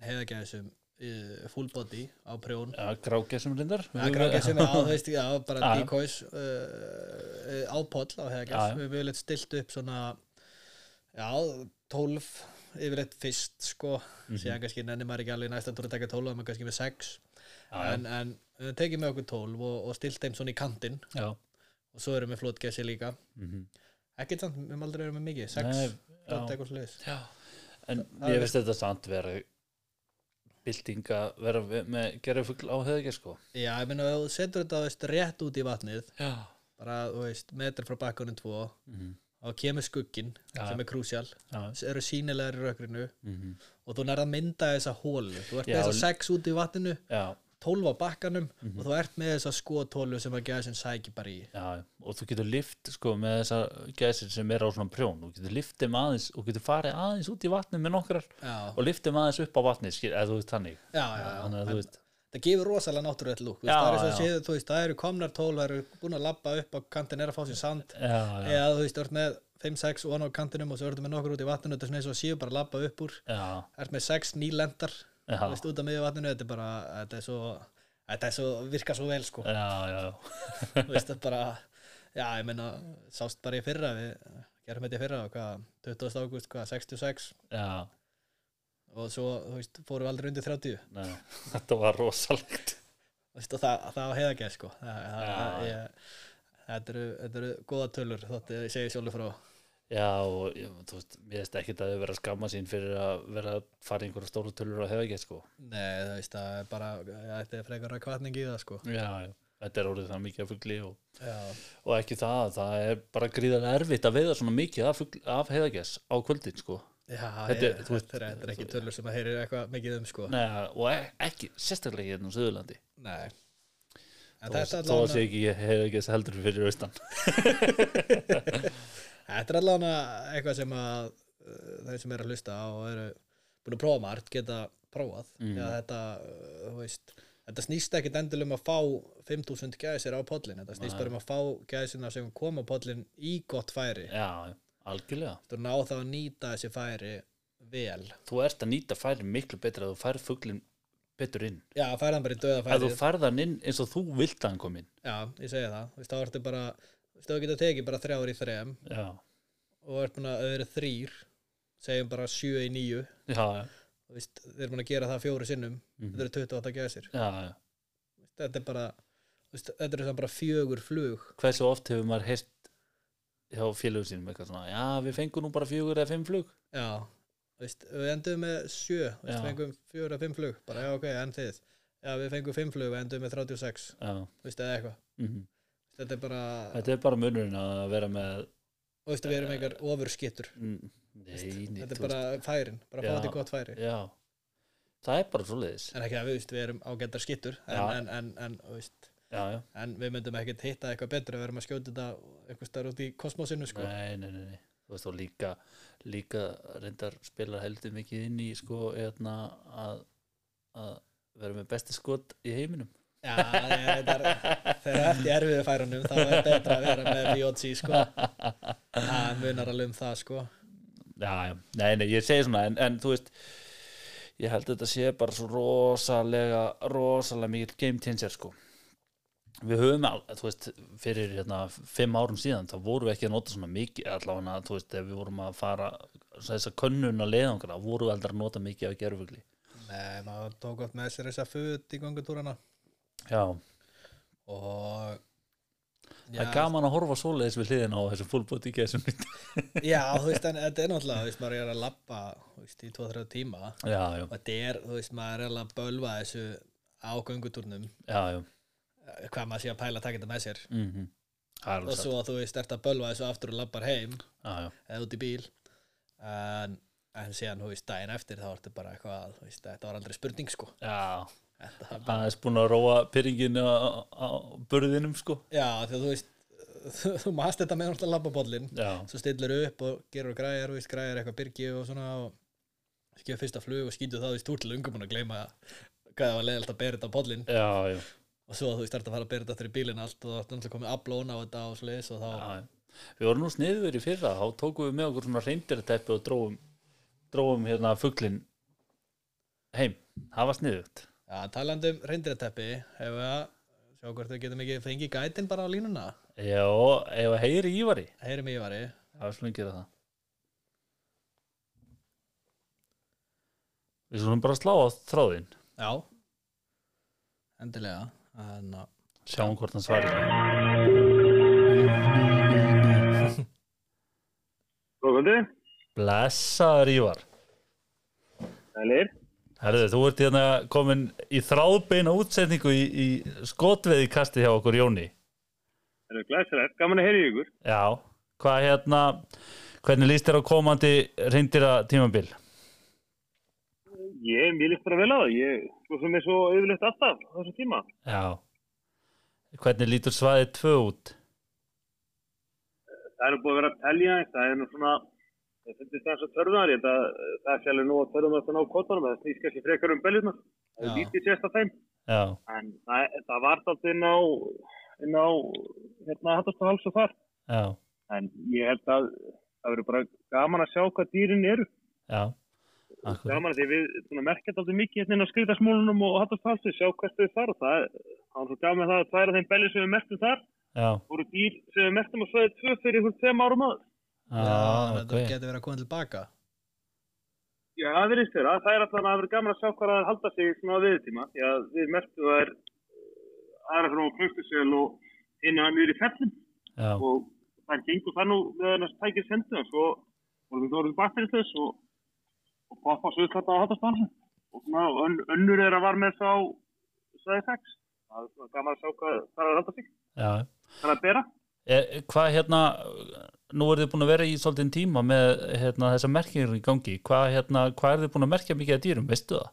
B: heiðagessum uh, full body á prjón
A: ja, grágæsum lindar
B: Já, grákið sem er á, þú veist, já, bara
A: Já, já.
B: decoys uh, uh, á poll á
A: Já,
B: hefðagess,
A: já.
B: við höfum yfirleitt stilt upp svona, já, 12 yfirleitt fyrst, sko
A: Mhm.
B: síðan kannski nenni maður ekki alveg í næstan túr að taka 12, maður kannski með 6
A: Já, já.
B: en, en við tekið með okkur 12 og, og stilt þeim svona í kantinn
A: já,
B: og svo erum við flótgæsi líka
A: mm
B: ekkert samt, við höfum aldrei verið með mikið, 6
A: Nei,
B: flott
A: já.
B: Mhm. eitthvað sliðis
A: já. en
B: Það
A: ég
B: er-
A: veist þetta samt verið bylting að vera við- með gerðufugl á heðagæs sko
B: já, ég meina, ef þú setur þetta, þú veist, rétt út í vatnið
A: já,
B: bara, þú veist, metr frá bakkunum 2
A: Mhm.
B: og kemur skugginn
A: Já.
B: sem er krúsjál,
A: já.
B: eru sínilegar í rökrinu
A: mhm.
B: og þú nærð að mynda þessa hólu þú ert
A: Já, l-
B: með þessa sex út í vatninu
A: já,
B: 12 á bakkanum
A: Mhm.
B: og þú ert með þessa skotólu sem að geða sem sæki bara í
A: Já, já. og þú getur lift sko með þessar gæsir sem er á svona prjón þú getur lift þeim aðeins og getur farið aðeins út í vatnið með nokkrar
B: já,
A: og lift þeim aðeins upp á vatnið skil, eða þú veist þannig
B: já, já,
A: þannig að þú veist
B: það gefur rosalega náttúrulega lúk
A: Já,
B: það, er svo
A: já.
B: séð, þú veist, það eru komnar tól það eru búin að labba upp á kantinn er að fá sér sand
A: já, já,
B: eða þú veist, þú ert með 5-6 og á kantinum og svo ertu með nokkur út í vatninu þetta er svona eins og séu bara að labba upp úr
A: já,
B: ert með 6 nýlendar
A: já,
B: þú veist, út af miðju vatninu þetta er bara, þetta er svo þetta er svo, virka svo vel
A: *laughs*
B: sko
A: já, já,
B: þú veist, það er bara já, ég meina, sást bara í fyrra við gerum þetta í fyrra, hvað, 20. ágúst hvað, 66
A: já, *laughs*
B: og svo, þú veist, fórum við aldrei undir 30
A: já. þetta var rosalegt
B: þú veist, og það, það á heiðagæð, sko það, það,
A: Já,
B: það,
A: já.
B: ég, þetta, eru, þetta eru góða tölur, þótt ég segi sjálfur frá
A: já, og ég, þú veist, ég veist ekkit að þau vera að skamma sín fyrir að vera að fara í einhverja stóru tölur á hefagæs sko
B: nei, þú veist, það er bara já, þetta er frekar að kvartning í það, sko
A: já, já, þetta er orðið það mikið að fugli og
B: já,
A: og ekki það, það er bara gríðarlega erfitt að veiða svona mikið af, fugl- af heiðagess á kvöldin sko
B: já
A: Þetta er-
B: ég,
A: þú veist-
B: þetta, er, þetta er ekki tölur sem að heyrir eitthvað mikið um, sko nei,
A: Nei, og e- ekki, sérstaklega hérna á Suðurlandi
B: en
A: þó
B: þetta er
A: þó að
B: allavega-
A: sé ekki heiðagess heldur fyrir austan
B: Þetta er allavega eitthvað sem að uh, þeir sem eru að hlusta á og eru búin að prófa margt geta prófað
A: Mhm.
B: eða þetta, uh, þú veist þetta snýst ekkit endil um að fá 5000 gæsir á podlin, þetta snýst
A: Nei.
B: bara um að fá gæsina sem koma á podlin í gott færi
A: Já, algjörlega
B: þú ná það að nýta þessi færi vel,
A: Þú ert að nýta færin miklu betur að þú færð fuglin betur inn
B: já, færa hann bara í döða
A: að þú
B: færi
A: færð hann inn eins og þú vilt að hann kom inn
B: já, ég segi það, þú veist, þá ertu bara þú veist, þá geta tekið bara þrjár í þrem
A: Já,
B: og ert búin að öðru þrýr segjum bara sjö í níu
A: já,
B: þú veist, þeir eru búin að gera það fjóru sinnum
A: Mhm.
B: þetta eru 28 gæsir
A: já, já.
B: þetta er bara þú veist, þetta eru samt bara fjögur flug
A: Hversu oft hefur maður heist hjá félögum sínum eitthvað svona Já, við fengum nú bara fjögur eða fimm flug
B: já, þú veist, við endum með sjö, þú veist,
A: Já.
B: við fengum fjögur að fimm flug bara já ok, en þið já, við fengum fimm flug, við endum með 36
A: Já,
B: þú veist, eða eitthvað,
A: mm
B: þetta er bara
A: þetta er bara munurinn að vera með
B: þú veist, við erum einhver ofurskittur
A: Mm, Nei, nei,
B: þetta er
A: þú
B: bara færin, bara
A: Já.
B: fá þetta í gott færi
A: Já, það er bara svoleiðis
B: en ekki að við, þú veist, við erum ágættar skittur en,
A: Já.
B: en, en, en, þú veist,
A: Já, já,
B: en við myndum ekkert hitta eitthvað betra við erum að skjóta þetta eitthvað starf út í kosmosinu sko.
A: nei, nei, nei, nei Þú veist, og líka, líka reyndar spilar heldur mikið inn í sko, eðna, að, að vera með besti skot í heiminum
B: Já, ég, þetta er, þegar allt í erfiðu færunum þá er betra að vera með VOC sko. það munar alveg um það sko.
A: Já, já, nei, nei, ég segi svona en, en þú veist, ég held að þetta sé bara svo rosalega rosalega mikil game changer sko Við höfum, al- þú veist, fyrir hérna, fimm árum síðan, þá vorum við ekki að nota svona mikið, allavega, þú veist, ef við vorum að fara þess að könnuna leiðangra, vorum við aldrei að nota mikið af gerfugli.
B: Nei, maður tók oft með sér þessa föt í gangutúrana
A: Já,
B: og
A: það er gaman að horfa svoleiðis við hliðina á þessum fullbóti gæsum.
B: já, þú veist, en þetta er náttúrulega þú veist, maður er að labba þú veist, í 2-3 tíma og
A: já, já,
B: þetta er, þú veist, maður er alveg að bölva þessu á göngutúrnum
A: já, já,
B: eh, hvað maður sé að pæla að taka þetta með sér
A: mhm, það er
B: og
A: alveg satt.
B: svo þú veist, ert að bölva þessu aftur og labbar heim
A: Já, já,
B: eða út í bíl en, en síðan, þú veist, daginn eftir þá ertu bara eitthvað, þú veist, þetta var aldrei spurning sko
A: já, aðeins búin að róa pyrringinu á, á burðinum sko
B: já því að þú veist *laughs* þú maðurst þetta með náttúrulega labbabollin
A: já,
B: svo stillir upp og gerur græjar og græjar eitthvað byrgi og svona og skjöf fyrsta flug og skýtur það í stúrtil ungum og gleyma hvað það var leiðalt að bera þetta á bollin
A: já, já,
B: og svo þú veist þarf að fara að bera þetta aftur í bílinn allt og það er náttúrulega komið aflón á þetta og sliðis og þá
A: já. við vorum nú sniður í fyrra þá tókum við með okkur svona reyndirteppi og dróum, dróum hérna fugglin heim, það var sniðugt
B: Já, talandi um reyndirateppi hefur við að sjá hvort við getum ekki fengið gætin bara á línuna
A: já, ef að heyri ívari
B: heyrum Ívari
A: já, við slum gera það við slum bara slá á þráðinn
B: Já Endilega Hérna. en, á-
A: Sjáum hvort hann svarir
C: Góðkvöldi,
A: Blessaður Ívar
C: Sælir.
A: Herðu, þú ert hérna komin í þráðbeina útsetningu í, í skotveiðikasti hjá okkur Jóni
C: Það eru glæsilegt, gaman að heyra í ykkur.
A: Já, hvað hérna hvernig líst þér á komandi reyndira tímabil?
C: Ég, mér líst bara vel á það, ég, svo sem er svo auðvitað alltaf á þessum tíma.
A: Já Hvernig lítur svaðið tvö út?
C: Það eru búið að vera að telja eins, það er nú svona, ég finnst það eins og törðunar, ég held að eh, það er sjálfur nú að törðunar þetta ná kvotanum, það snýst kannski frekar um beljurnar, það
B: Já.
C: er lítið sérst af þeim.
A: Já,
C: En það, það var alltaf inn á, inn á, hérna, hattast og háls og þar.
A: já,
C: En ég held að það verður bara gaman að sjá hvað dýrin eru.
A: já Akkur.
C: gaman að því við svona, merkjum alltaf mikið hérna inn á skriðdagsmólunum og hattast halsu, sjá hvert þau fara það er það er svo gaman það að tværa þeim bellir sem við merktum þar
A: Já,
C: voru dýr sem við merktum á svæði tvö fyrir hún þeim árum aður
A: já,
B: þannig að
A: ok
B: Þetta getur verið að koma tilbaka
C: Já, það verðist vera, það er alltaf að vera gaman að sjá hvað það halda sig svona á viðtíma því að við merktum það er aðra frá Klaustusel og inn að mjög í fellin
A: Já,
C: og það gengur það nú með þess tækir sendu og svo vorum við orðið bakfyrirlis og, og pappa svo uppkvæmt á hattaspannu og svona, og ön, önnur er að var með þá sæði sex það er svona gaman að sjá hvað það er að halda sig
A: já
C: það er að bera
A: Er, hvað hérna, nú eru þið búin að vera í svolítið tíma með hérna, þessa merkingur í gangi, hvað, hérna, hvað eru þið búin að merkja mikið að dýrum, veistu það?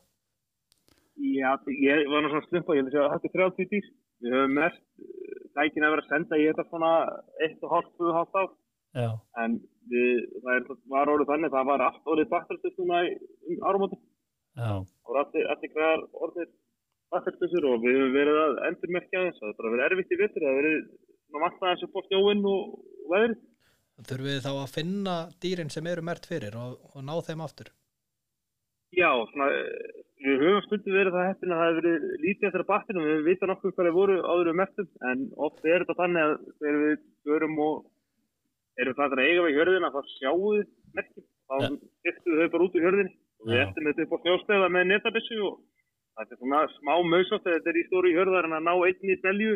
C: Já, ég var nú svona slumpa, ég held að þetta er 30 dýr við höfum mest dækin að vera að senda í þetta svona 1,5-2,5 ár
A: Já,
C: en við, það er, var orðið þannig það var allt orðið bakfyrirlis svona í- um árumóti
A: já,
C: og allir, allir græðar orðir aðferðstur og við höfum verið að endurmerkja þess það er bara verið erfitt í vittur það er verið maður vatnaði þessu bort jóinn og og veðrið
B: Þurfum við þá að finna dýrin sem eru mert fyrir og, og ná þeim aftur
C: já, svona, eh, við höfum stundum verið það heppin að það hefur verið lítið eftir að battinu við vitum nokkuð hvað það voru áður um mertum en oft er þetta þannig að þegar við förum og erum það að eiga við hjörðina þá sjáum við merkjum þá
A: Ja.
C: skiptum við þau bara út úr hjörðinni og við
A: Já.
C: eftir þetta upp á snjóstæða með netabissu og þetta er svona smá mögsátt þegar þetta er í stóru hjörðar en að ná einni í belju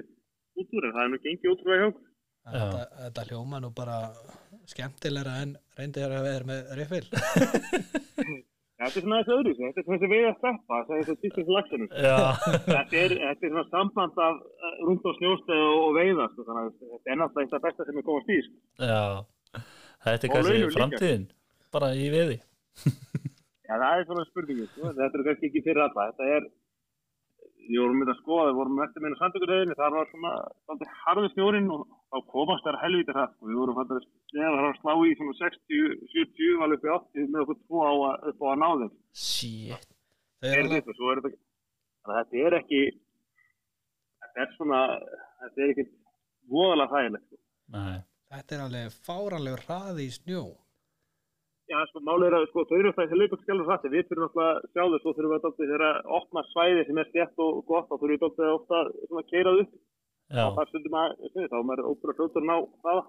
C: út úr en það er nú gengið útrúlega hjá okkur.
B: En
A: Já.
B: Þetta, þetta hljóma nú bara skemmtilegra en reyndir að vera með riffil
C: Ja, Þetta er svona þessi öðru, þetta er svona þessi veið að steppa, það er þessi tískins lagsanum.
A: já, *laughs*
C: Þetta er, þetta er svona samband af eh, rúnd á snjóstæðu og, og veiða, sko, þannig að þetta er náttúrulega eitt af besta sem er komast í. sko.
A: já, þetta er
C: Og launum
A: kannski
C: líka.
A: framtíðin, bara í veði.
C: Já, það er svona spurningu, sko. þetta er kannski ekki fyrir alla, þetta er, ég vorum myndið að skoða, við vorum eftir meina sandökuröðinni, það var svona, svolítið harði snjórin og þá komast þær helvítið hratt, sko. við vorum fannst að slefa þar að slá í svona 60, 70, alveg upp í 80 með okkur tvo á að, upp á að ná þeim.
A: Shit,
B: Þau eru
C: Er
B: alveg-
C: þetta, svo er þetta, þannig að þetta er ekki, þetta er svona, þetta er ekki voðalega þægilegt. sko.
A: nei,
B: Þetta er alveg fáranlegur hraði í snjó
C: Já, sko, málið er að sko, þau eru alltaf þessi leikast skjálfur hrætti, við þurfum alltaf að sjá þau, svo þurfum við að dálta þeirra opna svæði sem er stjætt og gott, þá þurfum við dálta þeirra ofta svona keirað upp,
A: já,
C: og þar stundum að, þú veist, þá er maður óbúin að fljóta að ná það.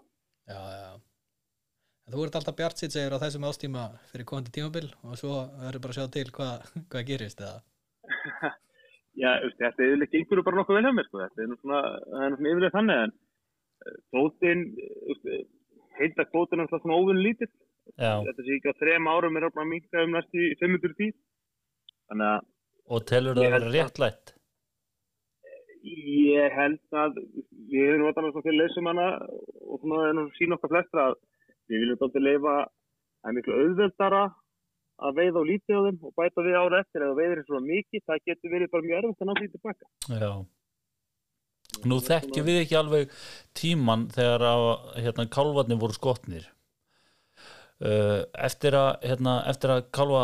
B: Já, já En þú ert alltaf bjart sitt segir á þessum ástíma fyrir komandi tímabil og svo verður bara að sjá til hvað, hvað gerist eða
C: Já, þú veist, þetta er yfirleitt gengur bara nokkuð vel hjá mér, sko, þetta er nú svona, það er nú svona yfirleitt þannig, en kvótin, þú veist, heilta kvótin er alltaf svona óvun lítill,
A: já,
C: þetta sé ekki á þrem árum er ofna að minka um næstu 500 tíð, þannig að
A: og telur það að vera réttlætt.
C: Ég held að við hefum notað með svona fyrir leysumanna og svona en sín okkar flestra að við viljum alltaf leifa það er miklu auðveldara að veiða og lítið á þeim og bæta við ára eftir eða veiðir þeim svona mikið, það getur verið bara mjög erfitt að ná því tilbaka.
A: já Nú þekkjum við ekki alveg tíman þegar að hérna, kálvarnir voru skotnir Uh, eftir að hérna, eftir að kálva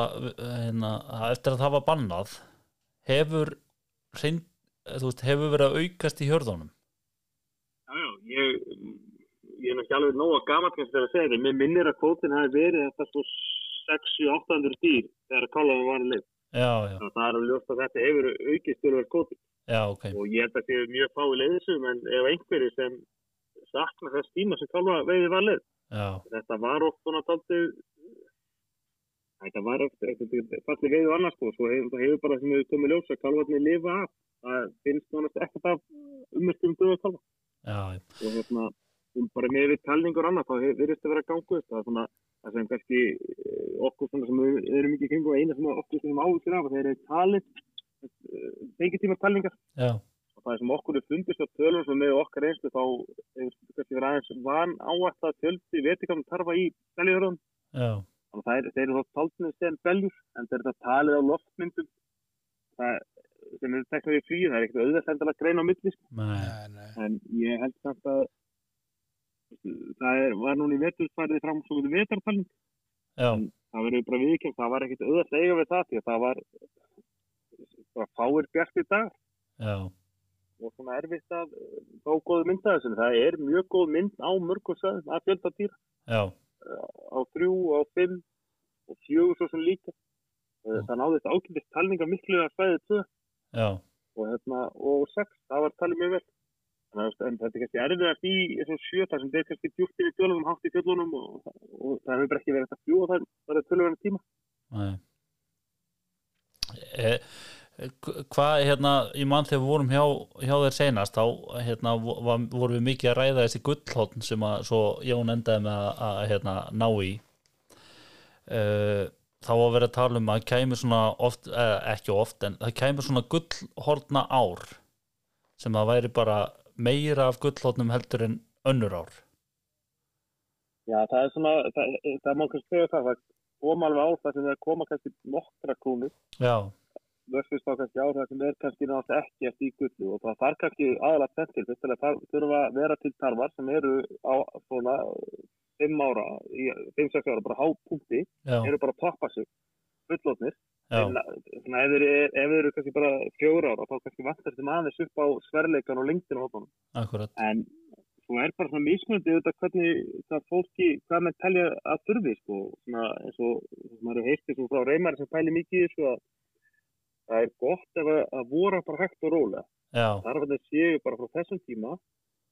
A: hérna, að- eftir að það var bannað hefur reynd, þú veist, hefur verið að aukast í hjörðunum
C: Já, já, ég, ég er nú ekki alveg nóga gamalt kannski þegar að segja þetta. Mér minnir að kvótin hafi verið þetta svo 6-800 dýr þegar að kálaðum var að leið.
A: já, já,
C: Þannig að það er að ljósta að þetta hefur aukist stjórnverð kvótin.
A: já, ok
C: Og ég held að þetta er mjög fái leiðisum en ef einhverju sem sakna þess tíma sem kála veiði var leið.
A: já,
C: Þetta var oft svona taldið Þetta var oft, þetta falli veiðu annars sko, svo hefur, það hefur bara sem hefur komið ljósa, kálvarnir lifa af, það finnst nánast ekkert af umestum döða kálva.
A: já,
C: og hérna, um bara með við talningur annað, þá hef- virðist að vera gangu það er svona, það sem kannski eh, okkur svona sem við erum ekki kringum eina sem okkur sem áhugur af, það er talið fengi eh, tíma talningar
A: já,
C: og það er sem okkur er fundist á tölum sem með okkar einslu þá hefur kannski verið aðeins van áætt að töldi vetikam tarfa í beljuhörðum
A: já,
C: og það er, þeir eru þá taldinu sem beljur en þeir eru það talið á loftmyndum það sem eru teknar í fríu, það er ekkert auðvitað endilega að greina á milli sko
A: nei,
B: Nei, nei.
C: en ég held samt að það er, var núna í veturfærið fram svo getur vetartalning
A: já,
C: það verður bara viðkjönd, það var ekkit auðvitað eiga við það því að það var bara fáir bjart í dag
A: já,
C: og svona erfitt að eh, fá góð mynd af þessu, En það er mjög góð mynd á mörgum stöðum að fjölda dýra
A: já,
C: á þrjú, á fimm og fjögur svo sem líka Eh, það náðist ákveðist talninga miklu að svæðið tvö
A: já,
C: og, hérna, og sex, það var talið mjög vel Þannig, að, þú veist, en þetta er kannski erfiðast í þessum sjö þar sem þeir kannski djúpt inn í dölunum hátt í fjöllunum og, og það hefur bara ekki verið hægt að fljúa þar bara tölvöðan tíma
A: nei e, Hvað, hérna, ég man þegar við vorum hjá, hjá þér seinast þá hérna, vo- var, vorum við mikið að ræða þessi gullhóttn sem að svo Jón endaði með að, að hérna, ná í e, þá var verið að tala um að kæmi svona oft, eh, ekki oft en það kæmi svona gullhortna ár sem að væri bara meira af gullhortnum heldur en önnur ár
C: Já, það er svona, það, það má kannski segja það það koma alveg á það sem það koma kannski nokkra krúnur
A: Já,
C: versus þá kannski á það sem er kannski náttúrulega ekki eftir í gullu og það þarf kannski aðalega þess til, fyrst að það þurfa að vera til tarfar sem eru á svona 5 ára, 5-6 ára bara hápunkti,
A: já,
C: eru bara að toppa sig fullotnir
A: já,
C: En, svona, ef, þeir, eru- ef þeir eru kannski bara fjóra ára þá kannski vantar þeim aðeins upp á sverleikan og lengdina á hópanum.
A: akkurat
C: En svo er bara svona mismunandi auðvitað hvernig það fólki, hvað menn telja að þurfi, sko. Svona, eins og eins og maður hefur heist þessu frá reymari sem pæli mikið í þessu að það er gott ef að, að voru bara hægt og rólega.
A: Já,
C: Þar að þeir séu bara frá þessum tíma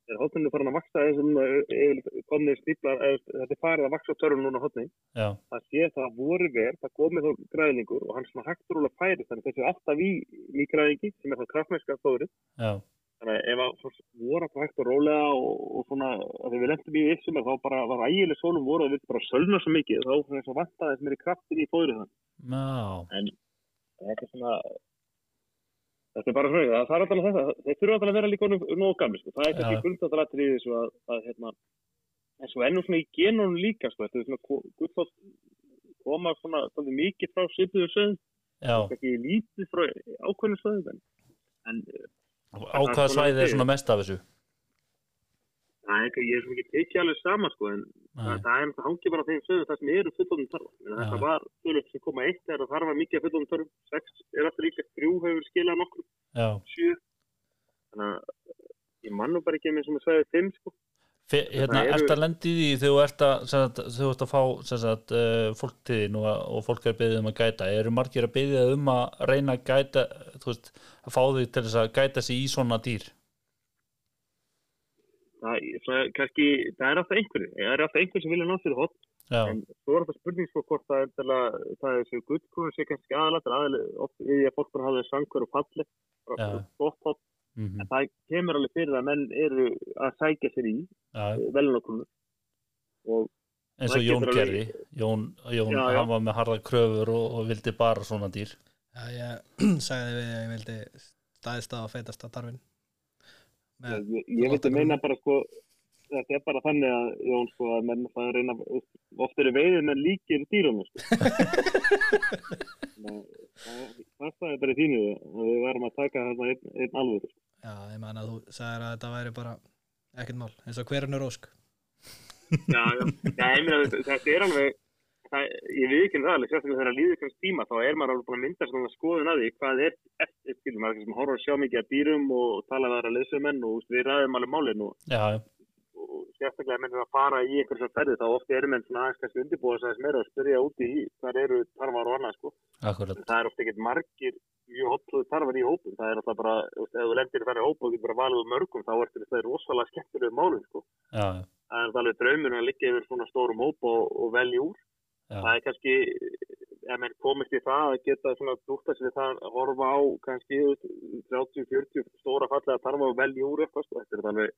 C: er hóttunni farin að vaksa eins og núna yfirleitt komnir stíplar, eða þetta er farið að vaksa á törun núna hóttunni
A: já,
C: það sé það að voru verð, það komið þá græðlingur og hann svona hægt rúlega færi þannig að þessu alltaf í nýgræðingi sem er það kraftmennska stóri
A: já,
C: þannig að ef að svo voru alltaf hægt og rólega og, og svona að þegar við lendum í vissum þá bara var ægileg sólum voru að við bara sölna svo mikið þá var þess að vanta þess meiri kraftin í fóðrið þannig
A: já,
C: að þetta er svona þetta er bara svona, það þarf alltaf þetta þeir þurfa alltaf að vera líka honum nógu gamli sko. það er
A: Já.
C: kannski grundallalatri í þessu að, að hérna, en svo ennum svona í genunum líka sko. þetta er svona gullfátt koma svona svolítið mikið frá svipuðu sögum,
A: já
C: kannski lítið frá ákveðnum sögum en, en eh,
A: Á hvaða svæði er svona mest af þessu?
C: það er ekki, ég er svona ekki tekið alveg sama sko, en það,
A: Nei,
C: það er það hangi bara á þeim sögum það sem eru fullónum tarfa Menna,
A: Já.
C: þetta var tölum sem koma eitt þegar það var mikið af fullónum tarfum, sex er alltaf líka þrjú hefur skilað nokkur
A: já
C: sjö þannig að eh, ég man nú bara ekki með sem að sagði fimm sko
A: Fe- Hérna,
C: eru-
A: ert að lendi því þegar þú ert að, sem sagt, þegar þú ert að fá sem sagt, uh, fólk til þín og, og fólk er beðið um að gæta eru margir að beðið um að reyna að gæta þú veist, að fá því til þess að gæta sig í svona dýr
C: það, það, kannski, það er alltaf einhverju það er alltaf einhverju sem vilja ná fyrir hot
A: Já,
C: en svo er alltaf spurning sko hvort það er endilega, það er þessu gullkúrun sé kannski aðalatur aðalega oft í því að fólk bara hafa sangur og falli bara
A: Já.
C: gott hot
A: mhm,
C: en það kemur alveg fyrir að menn eru að sækja sér í
A: já
C: velunarkunum og
A: eins og
C: það
A: Jón
C: getur alveg-
A: gerði Jón, Jón
C: Já, já.
A: hann var með harða kröfur og, og vildi bara svona dýr
B: Já, ég *clears throat* sagði við að ég vildi staðist á feitasta tarfin.
C: ég,
B: Með,
C: ég, ég veit að meina bara sko þetta er bara þannig að Jón sko að menn það reyna oft eru veiðir með líkir dýrum sko. Þannig að það það staði bara í þínu og við varum að taka þarna einn, einn alveg sko.
B: Já, ég man að þú sagðir að þetta væri bara ekkert mál, eins og hverjum er ósk
C: já, já, já, ég meina þetta- þetta er alveg það, ég við ekki það alveg, sérstaklega þegar að líður kannski tíma þá er maður alveg búin að mynda svona skoðun að því hvað er eftir, skilur maður er kannski sem horfur sjá mikið að dýrum og tala við aðra leysamenn og þú veist, við ræðum alveg málin og
A: já,
C: og sérstaklega menn sem að fara í einhver svona ferði þá oft eru menn svona aðeins kannski undirbúið þess aðeins meira og spyrja úti í hvað eru tarfar og annað sko.
A: akkurat
C: En það er oft ekkert margir mjög hotluð tarfar í hópum. Það er alltaf bara, þú veist, ef þú lendir í færri hópa og getur bara valið úr mörgum þá ertu þetta rosalega skemmtilegu málum sko.
A: já, já,
C: Það er alveg draumur að liggja yfir svona stórum hópa og, og velja úr.
A: Já.
C: Það er kannski, ef menn komist í það að geta svona dútt að sér það að horfa á kannski þú veist, 30-40 stóra fallega tarfa og velja úr eitthvað sko. Þetta er alveg,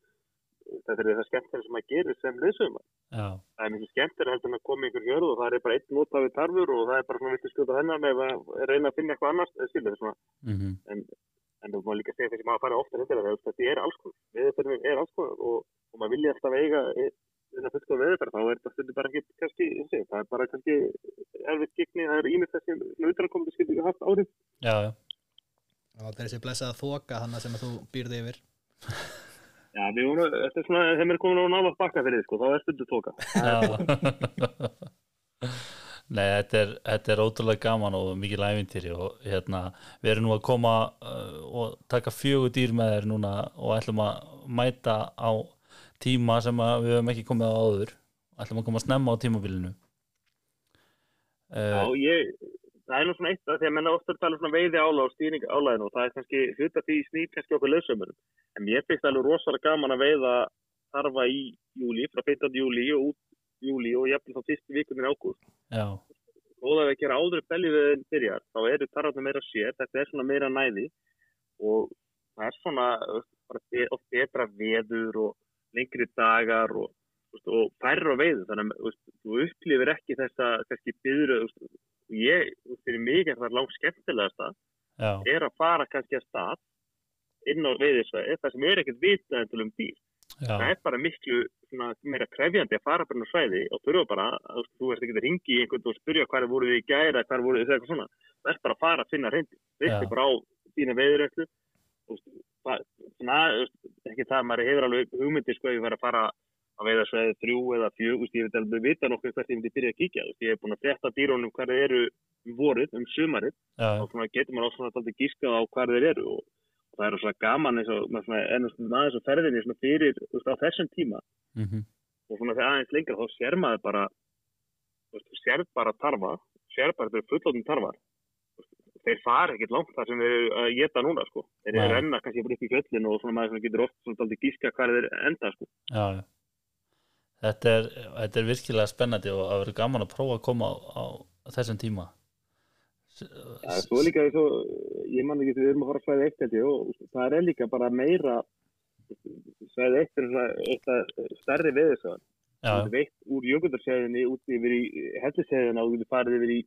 C: þetta er það skemmtilega sem að gerir sem leysum
A: já,
C: það er mikið skemmtir heldur en að koma í einhver hjörð og það er bara einn nota við tarfur og það er bara svona viltu skjóta þennan eða reyna að finna eitthvað annars eða skilur svona
A: mhm,
C: en þú má líka segja þessi maður að fara ofta hendur það þetta er alls konar veðurferðin er alls konar og, og maður vilja alltaf eiga þennan fullkoð veðurferð þá er þetta stundur bara ekki kannski þessi, það er bara kannski erfitt gigni það er ímynd þessi svona utanakomandi skilur haft árið
A: já, já,
B: og það er þessi blessaða þoka hann sem að þú býrði yfir
C: Já, við vorum, þetta er svona, þeim er komin á nála bakka fyrir sko, þá er stundu tóka
A: já. *laughs* Nei, þetta er, þetta er ótrúlega gaman og mikið læfintýri og hérna, við erum nú að koma uh, og taka fjögur dýr með þér núna og ætlum að mæta á tíma sem að við höfum ekki komið á áður ætlum að koma snemma á tímabilinu
C: Já,
A: uh,
C: ég, það er nú svona eitt að því að menna ofta tala um svona veiði ála og stýring álaðinu og það er kannski hluta því snýr kannski okkur leysumurum. En mér finnst alveg rosalega gaman að veiða þarfa í júli, frá 15. júli og út júli og jafnvel þá fyrstu vikunni ágúst.
A: já,
C: Og það er að gera áður belgivöðin byrjar, þá eru tarfarnir meira sér, þetta er svona meira næði og það er svona þú veist, bara be- oft betra veður og lengri dagar og þú veist, og færra veiðu þannig að þú veist, þú upplifir ekki þessa kannski byður ég, þú veist, fyrir mig er það langt skemmtilegasta
A: já,
C: er að fara kannski að stað inn á veiðisvæði, það sem er ekkert vitað endur um dýr,
A: já,
C: það er bara miklu svona, meira krefjandi að fara bara inn á svæði og þurfa bara, þú veist, þú ert ekki að ringi í einhvern og spyrja hvað voru þið í gæra, hvað voru þið eitthvað svona, það er bara að fara að finna reyndi,
A: Já.
C: þetta bara á þína veiðuröflu svona, þú veist, ekki það, maður hefur alveg hugmyndir sko, ef ég verið að fara að veiða sveið þrjú eða fjög, úst, ég veit alveg vita nokkuð hvert ég myndi byrja að kíkja, úst, ég hef búin að frétta af dýrunum hvað þeir eru um vorið, um sumarið
A: já,
C: og svona getur maður ofsvona alltaf gískað á hvað þeir eru og, og það er svona gaman eins og maður svona, ennast aðeins á ferðinni svona fyrir þú veist, á þessum tíma
A: mhm,
C: og svona þegar aðeins lengra þá sér maður bara þú veist, sér bara tarfa sér bara þeir fullóttum tarfar Þú veist, þeir fara ekkert langt þar sem þeir eru að geta núna sko, þeir eru
A: Nei.
C: að renna kannski bara upp í fjöllin og svona maður svona getur oft svona alltaf gíska hvað þeir enda sko
A: já, já. Þetta er, þetta er virkilega spennandi og það verður gaman að prófa að koma á, á þessum tíma
C: Já, svo er líka eins og, ég man ekki við erum að fara að svæði eitt held ég og það er líka bara meira svæði eitt er svona eitthvað stærri við þessu
A: já,
C: þú getur veitt úr jökundarsæðinni út yfir í hellisæðina og þú getur farið yfir í,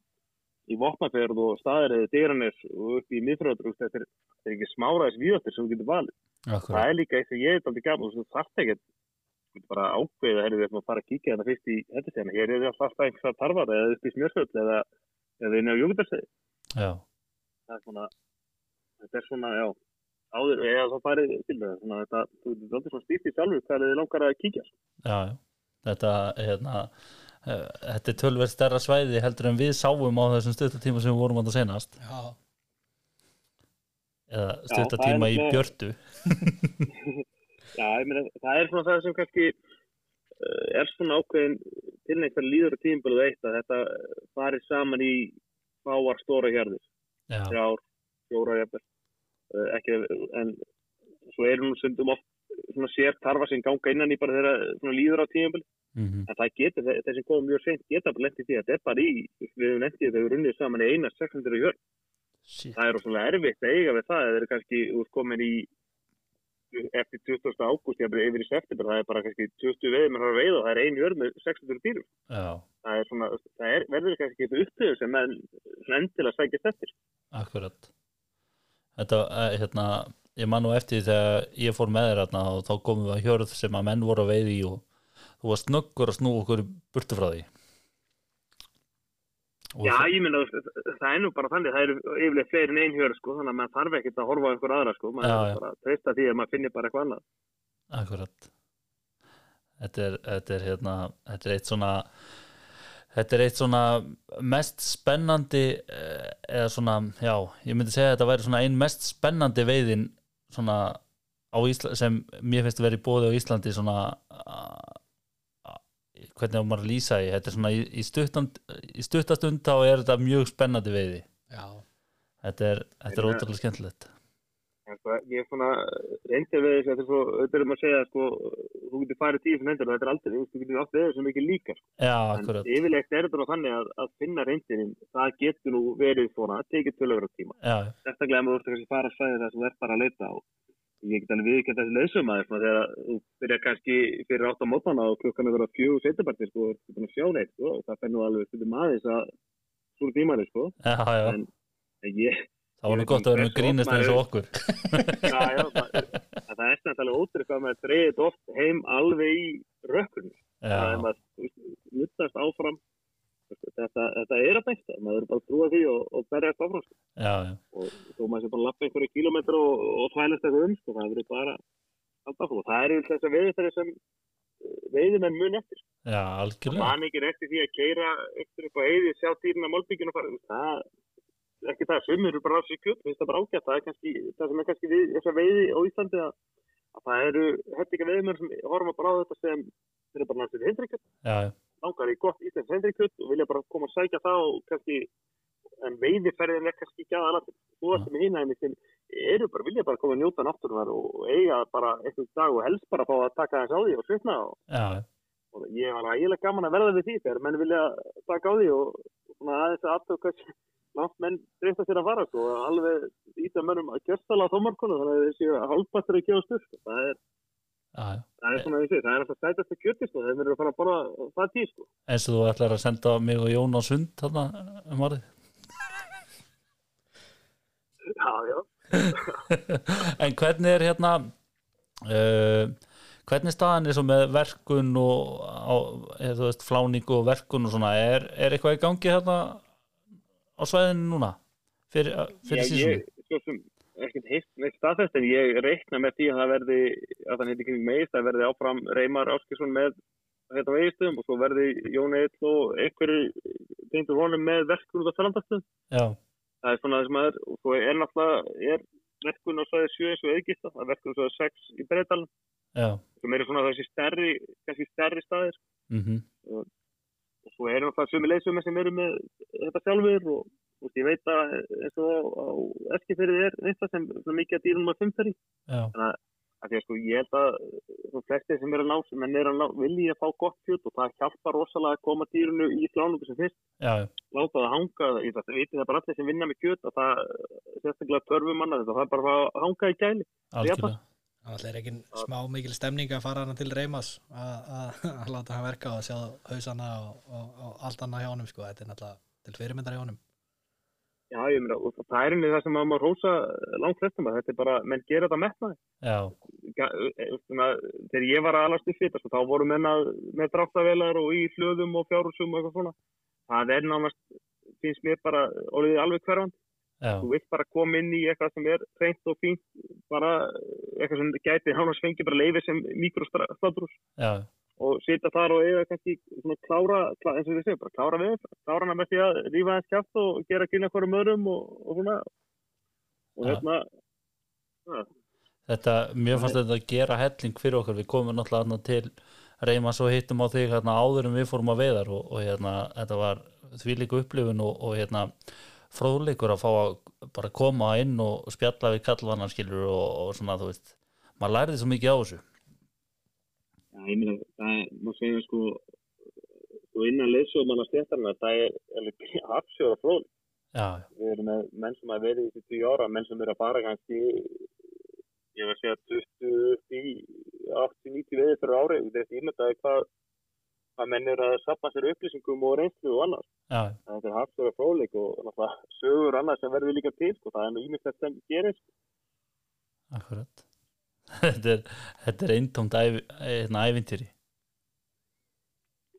C: í vopnaferð og staðar eða dyraness og upp í miðfröður þetta er, þetta er ekki smáraðis výjóttir sem þú getur valið
A: akkurat
C: það er líka eitt sem ég er aldrei gaman þú þarft ekkert þú getur bara ákveðið að við erum að fara að kíkja þarna fyrst í hellisæðina hér er það alltaf einhverja tarfar eða upp í smjörsvöld eða, eða inn á jökundarsæði
A: já,
C: það er svona þetta er svona, já áður, eða þá farið til það svona, þetta, þú getur aldrei svona stýrt í sjálfur hvað þið langar að kíkja
A: já, já. þetta hérna, eh, þetta er tölverð stærra svæði heldur en við sáum á þessum stuttatíma sem við vorum að það senast
B: Já,
A: eða
C: Já, það
A: stuttatíma
C: er
A: í
C: nefnilega-
A: Björtu
C: Já, ég meina, það er svona það sem kannski uh, er svona ákveðin til einhver líður á tímbilið eitt að þetta eh, fari saman í fáar stóra hérðir,
A: já,
C: þrjár, fjóra hérðir, uh, ekki, en svo eru nú sundum oft svona sér tarfa sem ganga innan í bara þeirra svona líður á tímbilið,
A: mhm,
C: en það getur, þe- þeir sem komum mjög seint geta bara lendið því að þetta er bara í, við höfum lendið þegar við höfum runnið saman í eina 600 hjörð
A: shit,
C: það er rosalega erfitt að eiga við það eða þeir eru kannski úr komin í eftir 20. ágúst, ég er yfir í september það er bara kannski 20 veðir með að veiða og það er ein jörð með 600 dýrum
A: já,
C: það er svona, það er, verður kannski eitthvað upplöðu sem menn svona endilega sækist eftir
A: akkurat þetta, eh, hérna ég man nú eftir því þegar ég fór með þér þarna og þá komum við að hjörð sem að menn voru að veiði í og þú var snöggur að snú okkur burtu frá því og
C: Já,
A: það-
C: ég meina, þú veist, það er nú bara þannig, það eru yfirlega fleiri en einhjör, sko, þannig að maður þarf ekkert að horfa á einhver aðra, sko, maður
A: Já,
C: þarf
A: já.
C: bara að treysta því að maður finnir bara eitthvað annað.
A: Akkurat Þetta er, þetta er hérna þetta er eitt svona þetta er eitt svona mest spennandi eh, eða svona, já, ég myndi segja að þetta væri svona ein mest spennandi veiðin svona á Ísla, sem mér finnst að vera í bóði á Íslandi svona ah, ah, hvernig á maður að lýsa því þetta er svona í, í, stuttan, í stuttastund þá er þetta mjög spennandi veiði
B: Já,
A: þetta er, þetta er
C: Ég-
A: ótrúlega skemmtilegt
C: En sko, ég er svona reyndir við þess að þetta er svo, auðvitað er maður að segja, sko, þú getur farið tíu fyrir hendur og þetta er aldrei, þú veist, þú getur átt veður sem ekki líka, sko.
A: Já,
C: En
A: akkurat,
C: yfirlegt er þetta nú þannig að, að finna reyndirinn, það getur nú verið svona, tekið tölugra tíma.
A: já, já,
C: sérstaklega ef þú ert kannski að fara að svæði það sem þú ert bara að leita á. Ég get alveg viðkjönd þessi leysum aðeins, svona, þegar þú byrjar kannski fyrir átt á mótana og klukkan er að vera fjögur setjabartir, sko, og þú búin að sjá neitt, sko, og það fer nú alveg stundum aðeins að súr tímari, sko.
A: já, já.
C: En- En ég, *laughs*
A: það var nú
C: ég veit
A: gott að vera
C: ekki
A: með grínist
C: hversu
A: eins og
C: oft
A: okkur
C: já, já, það, það er snart alveg ótryggt hvað maður dreigir þetta oft heim alveg í rökkunni. Það
A: Já,
C: er maður, þú veist, nuttast áfram. Þetta, þetta er að besta, maður er bara að trúa því og, og berjast áfram, sko.
A: já, já,
C: og þó maður sem bara lappa einhverja kílómetra og, og þvælast eitthvað um, sko, það verður bara alltaf og það er yfir þess að veiðistæri sem eh, veiðimenn mun eftir.
A: já,
C: Það
A: algjörlega
C: man ekki eftir því að keira eftir upp á heiði, sjá dýrin að málbygginu fara, þú veist, það er ekki það, sumir eru bara á sig kjöld, það er bara ágætt, það er kannski, það sem er kannski við, þess að veiði á Íslandi að, að það eru hefninga veiðimenn sem horfa bara á þetta sem þeir eru bara náttúrulega hindrikjöld
A: já, já,
C: langar í gott íslensk hendrikjöld og vilja bara koma að sækja það og kannski en veiðiferðin er kannski ekki aðalega þú varst með hína henni sem eru bara, vilja bara koma að njóta náttúrunar og eiga bara einhvern dag og helst bara fá að taka þess á því og svitna og,
A: já,
C: og ég var ægilega gaman að verða við því þegar menn vilja taka á því og og svona aðeins að aftöku hversu langt menn dreifta sér að fara sko, og alveg íta mönnum að kjörstala á þómarkonu þannig að þessi hálfbættur að gefa styrk það er,
A: já, já.
C: það er svona þessi, það er alltaf stætast að kjörti sko, þeir eru að fara að borða það tí sko.
A: eins og þú ætlar að senda mig og Jón á sund þarna um orðið
C: já, já,
A: en hvernig er hérna uh, hvernig staðan er svo með verkun og á, er, þú veist, fláningu og verkun og svona, er, er eitthvað í gangi hérna á svæðinu núna fyrir, uh, fyrir sísunni?
C: ég, svo sem ekkert heitt neitt staðfest en ég reikna með því að það verði að það heiti kring meist, það verði áfram Reymar Áskilsson með hérna á eigistöðum og svo verði Jón Eill og einhverju tegndur honum með verkun út á Þalandastu.
A: Já,
C: Það er svona það sem að er og svo er náttúrulega er verkun á svæði 7 eins og auðgista, það er verkun á svæði 6 í breytalum
A: já,
C: sem eru svona þessi stærri, kannski stærri staðir
A: mhm
C: og svo eru náttúrulega sömu leysum sem eru með þetta sjálfur og, og ég veit að eins og á eskifyrði er eitthvað sem svona mikið að dýrum að fimmferði
A: já,
C: af því að sko ég held að svona flestir sem eru að ná sem menn eru að ná vilji að fá gott kjöt og það hjálpar rosalega að koma dýrunu í slánungu sem fyrst
A: já, já,
C: láta það hanga, ég það veitir það bara allir sem vinna með kjöt að það eh, sérstaklega törfum annað þetta það er bara að hanga í gæli
A: algjörlega
B: það er ekki smá mikil stemning að fara hana til Reymas að að- að láta hann verka og sjá hausana og, og, og allt annað hjá honum sko, þetta er náttúrulega til fyrirmyndar hjá honum
C: Já, ég meina, og það er einnig það sem að maður hósa langt flestum að þetta er bara, menn gera þetta metnaði.
A: já,
C: Ga- eh, svona, þegar ég var að alast upp þetta, sko, þá voru menn að, með dráttarvelar og í hlöðum og fjárhúsum og eitthvað svona. Það er nánast, finnst mér bara, orðið alveg hverfand.
A: já,
C: Þú vilt bara koma inn í eitthvað sem er reynt og fínt, bara eh, eitthvað sem gæti nánast fengið bara leifi sem mikrostadrús
A: já,
C: og sitja þar og eiga kannski svona klára, klá, eins og við segjum, bara klára við þetta. klára hana með því að rífa hans kjátt og gera kynna hverjum öðrum og, og svona og
A: Já.
C: hérna
A: þetta, mér fannst þetta að gera helling fyrir okkur, við komum náttúrulega hérna til reyma svo hittum á þig hérna áður en við fórum að veiðar og, og hérna þetta var þvílíku upplifun og, og hérna fróðleikur að fá að bara koma inn og spjalla við kallvannar skilur og, og svona þú veist maður lærði svo mikið á þessu
C: Já, ég meina, það er, má segja sko, sko innan leysjóðmanna stéttarna, það er alveg *laughs* afsjóra flóð.
A: já,
C: Við erum með menn sem að verið í þessi 10 ára, menn sem eru að fara kannski, ég var að segja 20, upp í 80, 90 veðið fyrir ári. Þetta er ímyndaði hvað, hvað menn eru að sapna sér upplýsingum og reynslu og annars.
A: já,
C: Þetta er afsjóra fróðleik og náttúrulega sögur annars sem verður líka til, sko, það er nú ímyndað sem gerist
A: akkurat *laughs* þetta er, þetta er eintómt ævi, hérna, ævintýri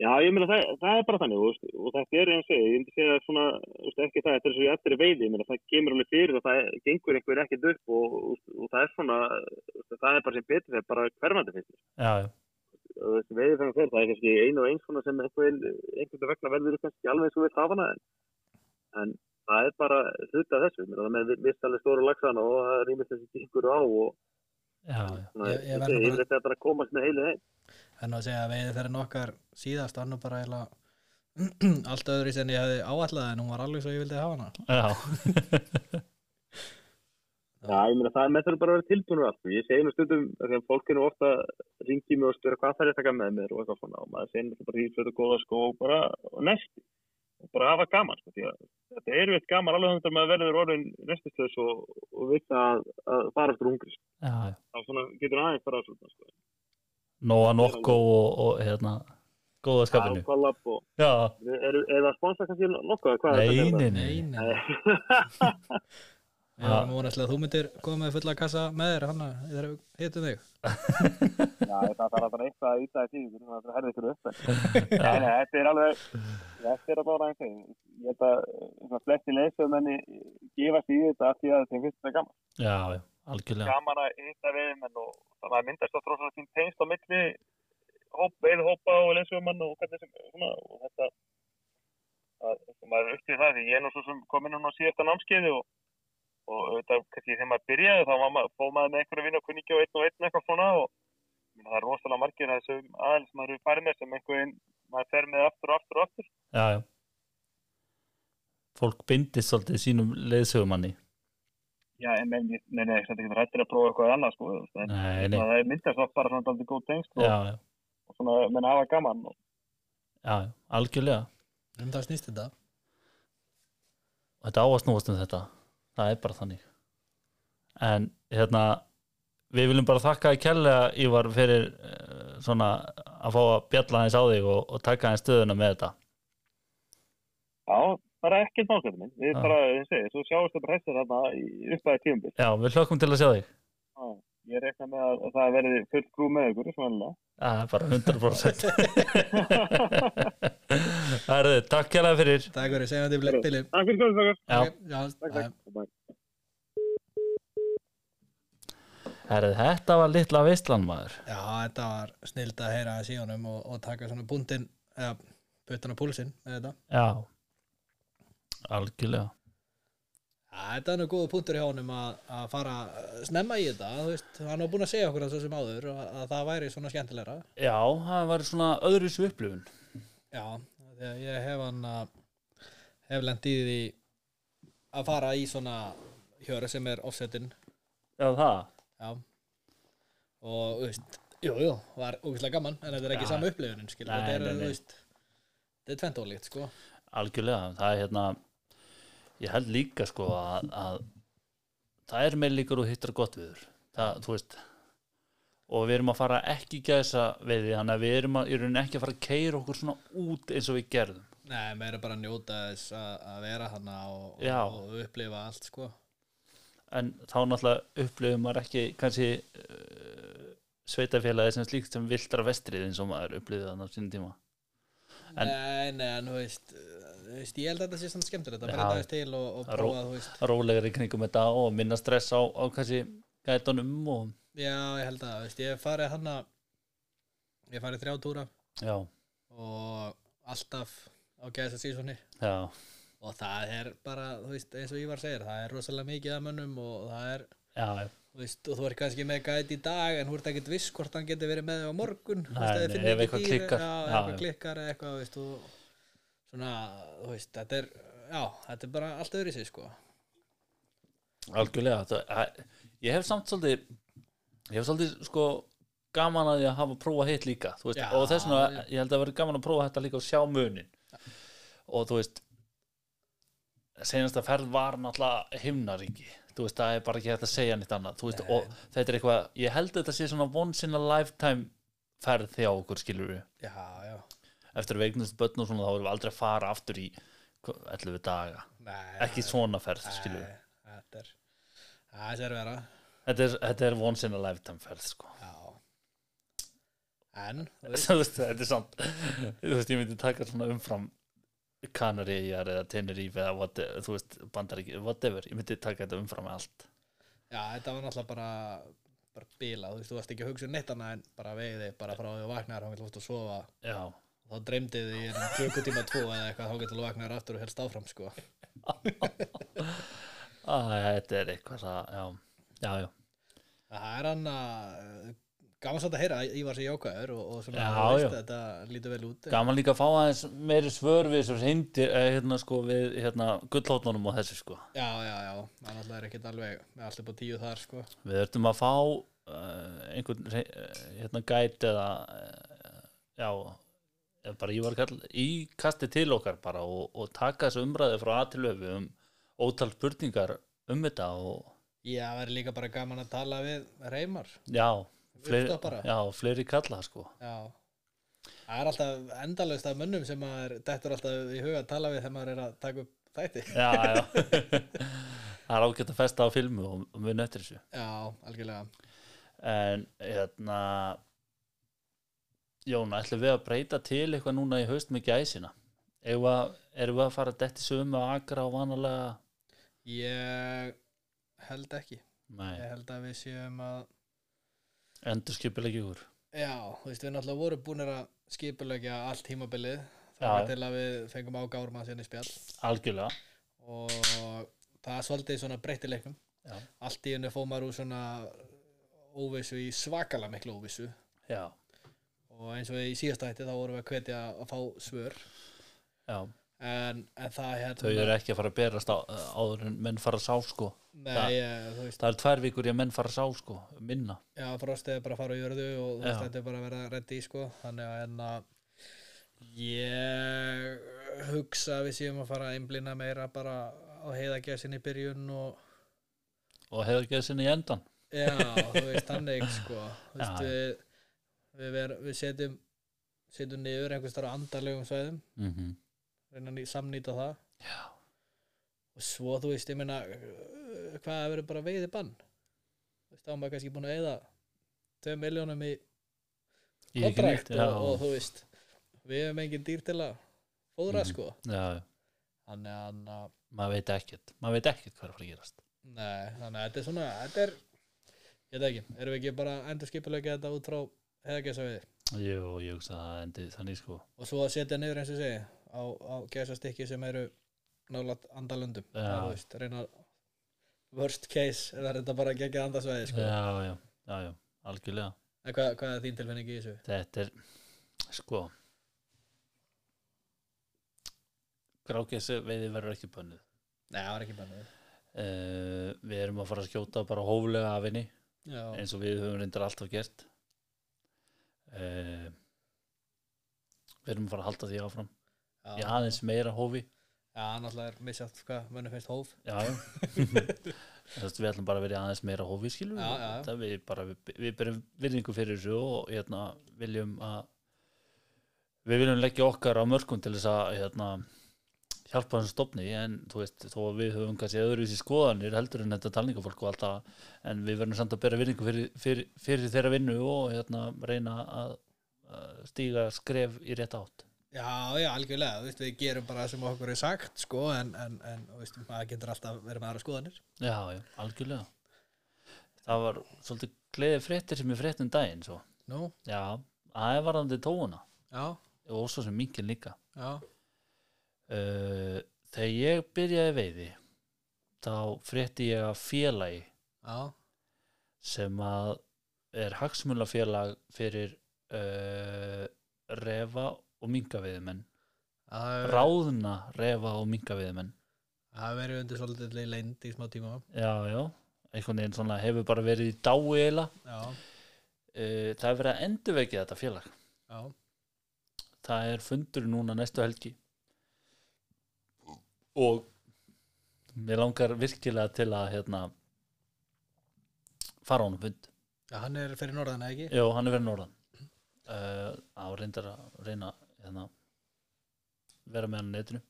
C: Já, ég meina það, það er bara þannig þú veist, og þetta er eins og ég myndi segja svona þú veist, ekki það, þetta er svo ég eftir veiði ég meina það kemur alveg fyrir og það gengur einhver ekkert upp og, og, og það er svona þú veist, það er bara sem betur þegar bara hverfandi finnst
A: já, já,
C: og þessi veiði þannig fyrir það er kannski einu og eins svona sem einhvern einhvern vegna verður kannski alveg eins og við hafa hana en, en það er bara hluta af þessu, þannig að við vist alveg stóru lagsana og það rýmist þessi ykkur á og
A: já, já.
C: svona,
B: Ég- ég
C: ég,
B: verð nú
C: ég,
B: bara-
C: þetta er bara að komast með heilu heim
B: en að segja að veiði þeirra nokkar síðast annar bara eila *clears throat* allt öðru sem ég hefði áallega en hún var alveg svo ég vildi hafa hana
A: já.
C: Já, ég meina það með þurfum bara að vera tilbúinu allt sko. ég segi nú stundum, af því að fólkinu ofta ringi mig og spyrir hvað það er að taka með mér og eitthvað svona og maður segir náttúrulega bara hýflöð og góða skó og bara og næst og bara hafa gaman sko, því að þetta er veitt gaman alveg þannig að maður verður orðin næstistöðs og, og veit að, að fara eftir hungri sko.
A: já, já
C: þá svona getur aðeins fara eftir hungri sko.
A: Nóa Nokko og, og hérna góða skapinu
C: Já, kollab og
A: já,
C: er, er það sponsa kannski nokkuð? eða hvað er þetta? hérna?
A: neini,
B: nei,
A: neini
B: nei, *laughs*
C: Nei.
B: ég var með vonast að þú myndir koma með fulla kassa með þér hanna þegar við hittum þig
C: Já, það þarf að bara eitthvað að íta í tíu, þannig að það herði ykkur upp. Nei, nei, þetta er alveg, þetta er að bara einhvern veginn. Ég held að eh, svona, flesti leysöðmenni gefast í þetta af því að þeim finnst þetta gaman.
A: já, já, algjörlega
C: Gaman að hitta veiðimenn og þannig að myndast það tróðsvægt fín tengsl á milli hóp, veiðhópa og leysöðmenn og hvernig sem, svona, og þetta, að, að maður er upptið það því ég er nú svo sem kom inn hún á síðasta námskeiði og og auðvitað, kannski þegar maður byrjaði þá var maður, fóð maður með einhverja vinn og kunningi og einn og einn eitthvað svona og Ég meina, það er rosalega margir að þessum aðeins sem maður eru farið með sem einhvern veginn maður fer með aftur og aftur og aftur
A: já, já fólk bindist svolítið sínum leiðsögumanni
C: Já, en menn, ég- nei, nei, þetta getur hættir að prófa eitthvað annað sko, þú veist, en
A: nei, nei,
C: svona, það er myndast oft bara svona daldið góð tengst og,
A: já, já,
C: og svona menn hafa gaman og,
A: já, já, algjörlega
B: um það snýst þetta
A: þetta á að snúast um þetta það er bara þannig en hérna við viljum bara þakka að kella Ívar fyrir eh, svona að fá að bjalla hans á þig og, og taka hans stöðuna með þetta
C: já, bara ekkert málsættu minn, við
A: Já.
C: bara, ég segi, svo sjáumst það bara hættir þarna í uppæði tíumbil
A: já, við hlökkum til að sjá þig
C: Ég rekna með að að það verði full grú með ykkur, svona
A: það er bara 100% það er þið, takk kella fyrir
B: takk fyrir segjandi
C: Heyrðu.
B: Billy
C: Takk fyrir góðum þakkar
A: já,
B: Ok, já,
C: Takk,
B: bye.
C: takk Bye.
A: Herri, þetta var litla veistlan maður
B: Já, þetta var snild að heyra að síðanum og, og taka svona búndin eða puttan á púlsinn með þetta.
A: Já Algjörlega
B: Já, þetta er nú góða punktur hjá honum að, að fara eh, snemma í þetta, þú veist, hann var búin að segja okkur að svo sem áður að, að það væri svona skemmtilegra.
A: Já, það var svona öðru svo upplifun
B: Já, þegar ég hef hann að hef lent í því að fara í svona hjöru sem er offsetin,
A: Já, það
B: já, og, þú veist, jú, jú, var ógustlega gaman, en þetta er ekki
A: Já.
B: sama upplifunin, skilur,
A: Nei,
B: þetta er,
A: nei, nei.
B: þú veist, þetta er tventólíkt, sko.
A: Algjörlega, það er hérna Ég held líka sko að, að það er með líkur og hittar gott viður það, þú veist og við erum að fara ekki í gæsa við því þannig að við erum að, í rauninni ekki að fara að keira okkur svona út eins og við gerðum
B: Nei, meira bara að njóta þess að, að vera hana og,
A: Já.
B: og, og upplifa allt, sko.
A: en þá náttúrulega upplifum maður ekki kannski uh, sveitafélagi sem slíkt sem viltra vestrið eins og maður upplifið þannig á sínum tíma En-
B: nei, nei, en þú veist, uh, þú veist, ég held að þetta sé samt skemmtilegt að
A: Já.
B: bara dagist til og, og
A: Ró-
B: prófa, þú veist.
A: rólegar í kringum þetta og minna stress á, á kannski gætunum og
B: Já, ég held að, þú veist, ég hef farið hana, ég hef farið þrjá túra
A: já,
B: og alltaf á gæðis að sísoni
A: já,
B: og það er bara, þú veist, eins og Ívar segir, það er rosalega mikið að mönnum og það er,
A: já
B: þú veist, og þú ert kannski með gæt í dag en þú ert ekkert viss hvort hann getur verið með þig á morgun þú
A: Nei,
B: veist, ef þið
A: nei,
B: finnið
A: ef
B: ekki
A: eitthvað
B: dýr,
A: klikkar.
B: já, ef
A: Já,
B: eitthvað
A: já.
B: klikkar eða eitthvað, þú veist, og svona, þú veist, þetta er já, þetta er bara allt öðru sig, sko
A: algjörlega það, að, ég hef samt svolítið ég hef svolítið sko gaman að ég hafa prófað hitt líka þú veist,
B: Já.
A: og þess vegna ég held að vera gaman að prófa þetta líka og sjá munin og þú veist senasta ferð var náttúrulega himnaríki þú veist, það er bara ekki hægt að segja nýtt annað þú veist,
B: Nei.
A: og þetta er eitthvað, ég held að þetta sé svona once in a lifetime ferð hjá okkur skilur við
B: já, já,
A: eftir að veiknast börn og svona þá erum við aldrei að fara aftur í hva- 11 daga
B: nei
A: ekki svona ferð
B: nei,
A: skilur við
B: þetta er það er sér vera
A: þetta er, þetta er once in a lifetime ferð sko
B: Já En þú
A: *laughs*
B: veist,
A: Þú veist, þetta er samt þú veist, ég myndi taka svona umfram Kanaríjar eða Tenerife eða whatever, þú veist, Bandaríki, whatever ég myndi taka þetta umfram allt
B: Já, þetta var náttúrulega bara bara bila, þú veist, þú varst ekki að hugsa um neitt annað en bara veiði, bara frá því að vaknaðar þá getur lóft að sofa,
A: já,
B: þá dreymdi þig í klukkutíma tvo eða eitthvað, þá getur þú vaknaðar aftur og helst áfram, sko
A: Æ, þetta er eitthvað það, já, já, já
B: Það er hann að eh, gaman svolítið að heyra að Ívar sé jákvæður og, og svona,
A: Já,
B: þú veist,
A: já.
B: þetta lítur vel út
A: gaman líka að fá aðeins meiri svör við þessu hindi, eh, hérna sko við hérna gullhóttunum og þessu sko
B: Já, já, já, hann alltaf er ekkert alveg með allt upp á tíu þar, sko
A: við ertum að fá uh, einhvern hrein- eh, hérna gæt eða uh, já eða bara ég var kall í kasti til okkar bara og, og taka þessu umræði frá aðtilöfu um ótal spurningar um þetta og
B: Já, það er líka bara gaman að tala við reymar
A: já fleiri,
B: Uppstoppara.
A: já, fleiri kalla sko
B: Já Það er alltaf endalaust af mönnum sem maður dettur alltaf í huga að tala við þegar maður er að taka upp þætti *laughs*
A: já, já *laughs* það er ágætt að festa á filmu og, og muni eftir þessu
B: Já, algjörlega
A: en hérna Jón, ætlum við að breyta til eitthvað núna í haust með gæsina erum við, erum við að fara að detti sömu að agra og vanalega
B: Ég held ekki
A: nei,
B: Ég held að við séum að
A: endur skipileg ykkur
B: Já, þú veist, við náttúrulega vorum búinir að skipulegja allt tímabilið
A: Já.
B: Það var til að við fengum á Gármann sinni spjall
A: algjörlega,
B: og það er svolítið svona breytileikum
A: Já.
B: allt í henni fóð maður úr svona óvissu í svakala miklu óvissu
A: já,
B: og eins og í síðasta hætti þá vorum við að hvetja að fá svör
A: já
B: en, en það hérna
A: þau eru ekki að fara að berast á, áður en menn fara að sá sko
B: nei, eh, þú veist,
A: það er tvær vikur í að menn fara að sá sko minna,
B: já, frostið er bara að fara á jörðu og þú veist,
A: Já.
B: þetta er bara að vera reddi sko, þannig að en að ég hugsa að við séum að fara að einblina meira bara á heiðagjössin í byrjun og
A: og hefur ekki þessinni í endan
B: Já, þú veist, þannig
A: *laughs*
B: sko Þú veist,
A: Já.
B: við, við, ver, við setjum setjum niður einhvers þar á andarlegum svæðum
A: mm
B: reyna að ný- samnýta það
A: já,
B: og svo þú veist, ég meina uh, hvað að vera bara veiði bann þú veist, þá er maður kannski búin að eyða 2 miljónum í
A: Ég ekki neitt,
B: kontrakt
A: já,
B: og, og þú veist við hefum engin dýr til að fóðra
A: Mhm.
B: sko
A: já, já.
B: þannig að, þannig að,
A: maður veit ekkert maður veit ekkert hvað er að fara að gerast
B: nei, þannig að þetta er svona þetta er, ég veit ekki, erum við ekki bara endur skipulegja þetta út frá heðagessa veiði
A: jú, ég hugsa að það endi þannig sko
B: og svo að setja niður eins og segi á, á gæsastykki sem eru nálat andalöndum
A: Já.
B: Það, þú veist, reyna worst case er þetta bara að gegja andasvæði sko.
A: já, já, já, já, algjörlega
B: En hvað, hvað er þín tilfinning í þessu?
A: þetta er sko grákessu veiði verður ekki bönnuð
B: Nei, það var ekki bannið
A: uh, við erum að fara að skjóta bara hóflega af henni
B: Já,
A: eins og við höfum reyndar alltaf gert uh, við erum að fara að halda því áfram í aðeins meira hófi
B: Já, náttúrulega er misjátt hvað mönnum finnst hóf
A: já, já
B: *laughs*
A: Þú veist, við ætlum bara að vera í aðeins meira hófi skilur
B: Já, já, já.
A: Þetta, við bara, við, við berum virðingu fyrir þessu og hérna, viljum að við viljum leggja okkar á mörgum til þess að hérna, hjálpa þessum stofni en þú veist, þó að við höfum kannski öðruvísi skoðanir heldur en þetta talningafólk og allt það en við verðum samt að bera virðingu fyrir, fyrir, fyrir þeirra vinnu og hérna, reyna að, að stíga skref í rétt átt
B: Já, já, algjörlega, þú veist, við gerum bara það sem okkur er sagt, sko, en, en, en þú veist, maður getur alltaf verið með aðra skoðanir
A: Já, já, algjörlega Það var svolítið gleðið fréttir sem ég frétt um daginn svo
B: Nú,
A: Já, það er varðandi tóuna
B: já,
A: og svo sem minkin líka.
B: já,
A: Uh, þegar ég byrjaði veiði, þá frétti ég að félagi
B: já,
A: sem að er hagsmulafélag fyrir uh, refa og minkaveiðumenn.
B: það hefur-
A: Ráðna refa og minkaveiðumenn.
B: það hefur verið undir svolítið leind í smá tíma
A: Já, já, einhvern veginn svona hefur bara verið í dái eila.
B: Já,
A: Uh, það er verið að endurvekja þetta félag.
B: já,
A: það er fundur núna næstu helgi og mér langar virkilega til að hérna fara á honum fund
B: já, hann er fyrir norðan, eða ekki?
A: Jó, hann er verið norðan uh, á reyndar að reyna hérna, vera með hann á netinu en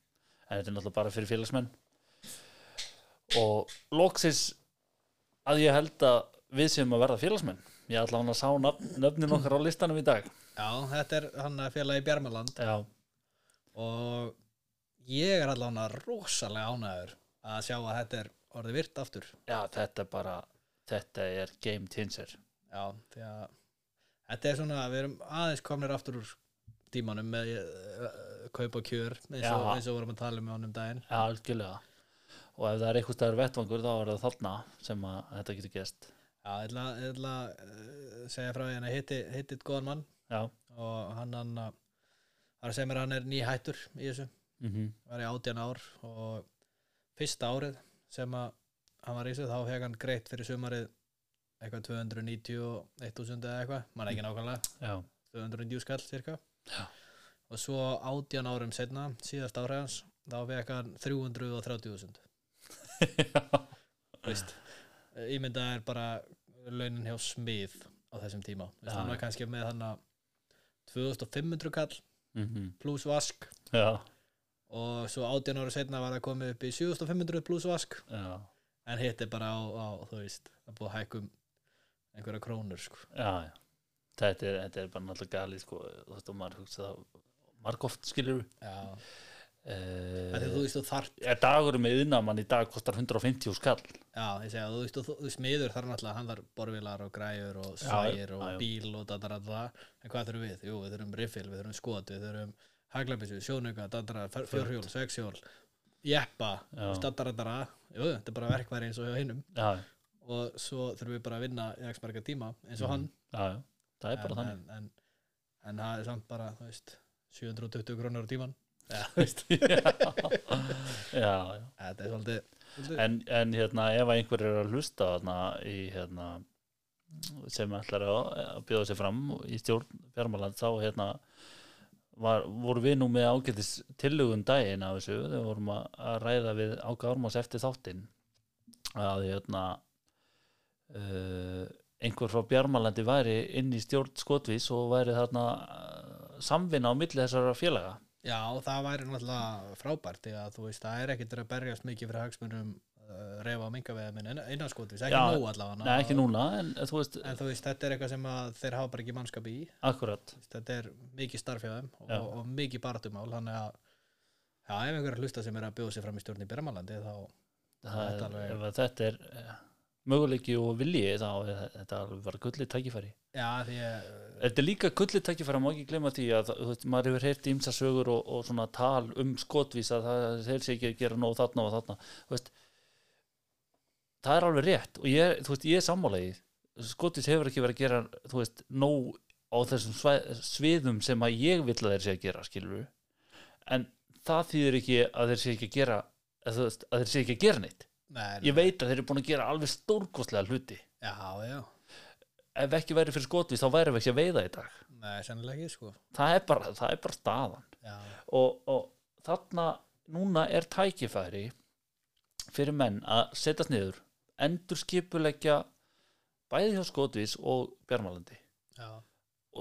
A: þetta er náttúrulega bara fyrir félagsmenn og loksins að ég held að við séum að verða félagsmenn ég ætla hann að sá nöfn, nöfnin okkar á listanum í dag
B: Já, þetta er hann að fjöla í Bjarmaland
A: já,
B: og ég er allan að rosalega ánæður að sjá að þetta er orðið virt aftur
A: já þetta er bara þetta er game changer
B: Já, því að þetta er svona að við erum aðeins komnir aftur úr tímanum með uh, kaup og kjör eins og,
A: Já.
B: eins og vorum að tala um með honum daginn
A: já, algjörlega og ef það er einhvers staðar vettvangur þá er það þarna sem að þetta getur gest
B: Já, ég ætla, ég ætla að uh, segja frá því að hitti, hitti eitt góðan mann
A: já,
B: og hann hann að það er að segja mér að hann er nýhættur í þessu
A: mm
B: var ég átján ár og fyrsta árið sem að hann var í þessu þá hef hann greitt fyrir sumarið eitthvað 290 og 1000 eða eitthvað, mann ekki nákvæmlega
A: já,
B: 290 skall cirka
A: Já.
B: og svo átján árum setna, síðast árið hans þá fekk hann 330.000 veist ímynda er bara launin hjá smið á þessum tíma
A: Já,
B: veist, hann var
A: já.
B: kannski með hann að 2500 kall
A: *laughs* Mhm.
B: pluss vask
A: já,
B: og svo 18 ára setna var það komið upp í 7500 pluss vask
A: já,
B: en hitt er bara á, á þú veist að búið að hækkum einhverja krónur sko.
A: já, já. Þetta, er, þetta er bara náttúrulega gali sko, þú veist og maður hugsa það margóft skilur
B: já,
A: uh,
B: Þegar
A: Eh.
B: þú veist þú þart
A: er dagur með innamann í dag kostar 150 skall
B: já, ég segja, þú veist þú, þú smiður þar náttúrulega hann þar borvilar og græjur og
A: Já,
B: sægir og
A: já, já.
B: bíl og dadara það en hvað þurfum við? Jú, við þurfum riffil, við þurfum skot við þurfum haglabissu, sjónuga, dadara fjórhjól, svegshjól, jeppa
A: Já.
B: dadara, dadara, jú, þetta er bara verkværi eins og hjá hinnum
A: já, já,
B: og svo þurfum við bara að vinna í x marga tíma eins og hann
A: já, Mhm, það er bara
B: en,
A: þannig
B: en, en, en það er samt bara þú veist, 720 krónur á tíman
A: já, *laughs* já, já.
B: þetta er svolítið, svolítið
A: En, en hérna ef að einhver er að hlusta þarna í hérna sem ætlar að, að bjóða sér fram í stjórn fjármáland þá hérna var, voru við nú með ágætis tillögun daginn af þessu þegar við vorum að, að ræða við ágæða ormás eftir þáttinn að hérna uh, einhver frá Bjarmalandi væri inn í stjórn skotvís og væri þarna eh, samvinna á milli þessara félaga
B: já, það væri náttúrulega frábært því að þú veist, það er ekkert að berjast mikið fyrir hagsmunum uh, reyfa á mingaveða minn innan skotis, ekki
A: Já,
B: nóg allavega
A: Nei, ekki núna, en eh, þú veist,
B: en þú veist, þetta er eitthvað sem að þeir hafa bara ekki mannskap í
A: akkurat
B: Þú veist, þetta er mikið starf hjá þeim
A: Já.
B: og, og mikið barðumál þannig að já, ef einhverjar hlusta sem er að bjóða sér fram í stjórn í Bjarmalandi þá,
A: Það
B: Þetta
A: er,
B: alveg-
A: ef að þetta er eh, möguleiki og vilji þá er þe- þetta alveg bara gullið tækifæri
B: já, því að
A: Þetta er líka gullið tækifæri, má ekki glemma því að þú veist, maður hefur heyrt ímsa sögur og, og svona tal um skotvís að það þeir sé ekki að gera nóg þarna og þarna Þú veist, það er alveg rétt og ég, þú veist, ég er sammálegi skotvís hefur ekki verið að gera þú veist, nóg á þessum svæ- sviðum sem að ég vill að þeir sé að gera skilur en það þýðir ekki að þeir sé ekki að gera að, þú veist, að þeir sé ekki að gera neitt
B: nei,
A: ég veit að þeir eru búin að gera alveg stórkostlega hluti
B: já, já,
A: ef ekki væri fyrir skotvís þá væri við ekki að veiða í dag
B: nei, sennilega ekki sko
A: það er bara, það er bara staðan
B: já,
A: og, og þarna núna er tækifæri fyrir menn að setjast niður endur skipuleggja bæði hjá skotvís og bjarmalandi
B: já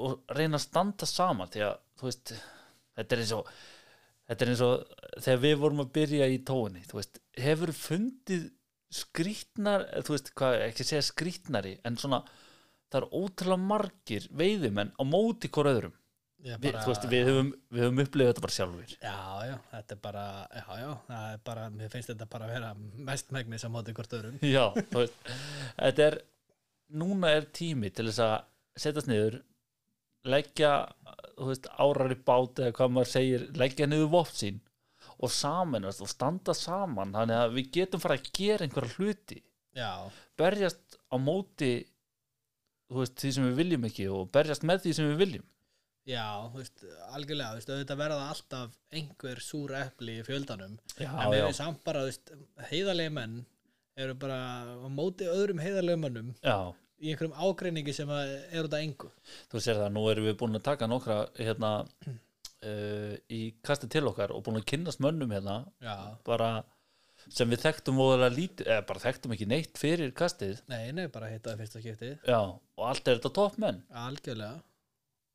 A: og reyna að standa saman því að þú veist þetta er eins og þetta er eins og þegar við vorum að byrja í tóni þú veist, hefur fundið skrýtnar, eh, þú veist hvað ekki segja skrýtnari, en svona það er ótrúlega margir veiðimenn á móti hvora öðrum
B: Ég
A: við,
B: bara-
A: þú veist, við höfum, við höfum upplifað þetta bara sjálfur
B: Já, já, þetta er bara, já, já, það er bara, mér finnst þetta bara að vera mest megnis á móti hvort öðrum.
A: *laughs* já, þú veist þetta er, núna er tími til þess að setjast niður leggja, þú veist, árar í bát eða hvað maður segir, leggja niður vopn sín og samennast og standa saman, þannig að við getum fara að gera einhverja hluti,
B: Já,
A: berjast á móti þú veist, því sem við viljum ekki og berjast með því sem við viljum
B: já, þú veist, algjörlega, þú veist, auðvitað verða alltaf einhver súr epli í fjöldanum.
A: já,
B: en við
A: já,
B: erum samt bara, þú veist, heiðarlega menn eru bara á móti öðrum heiðarlega mönnum
A: já
B: í einhverjum ágreiningi sem að er út af engu.
A: þú sér það, nú erum við búin að taka nokkra hérna *clears throat* uh, í kasti til okkar og búin að kynnast mönnum hérna
B: Já,
A: bara sem við þekktum voðalega lítið, eða bara þekktum ekki neitt fyrir kastið,
B: nei, nei, bara hitta það fyrsta skiptið.
A: já, og allt er þetta toppmenn
B: Algjörlega.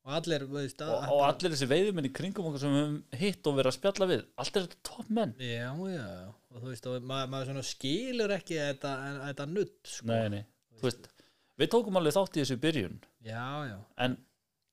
B: Og allir, þú veist,
A: og, og allir þessi veiðumenn í kringum okkur sem við höfum hitt og verið að spjalla við, allt er þetta toppmenn
B: Já, já, og þú veist, og maður, maður svona skilur ekki þetta, þetta nutt, sko.
A: nei, nei, þú veist við tókum alveg þátt í þessu í byrjun
B: já, já,
A: en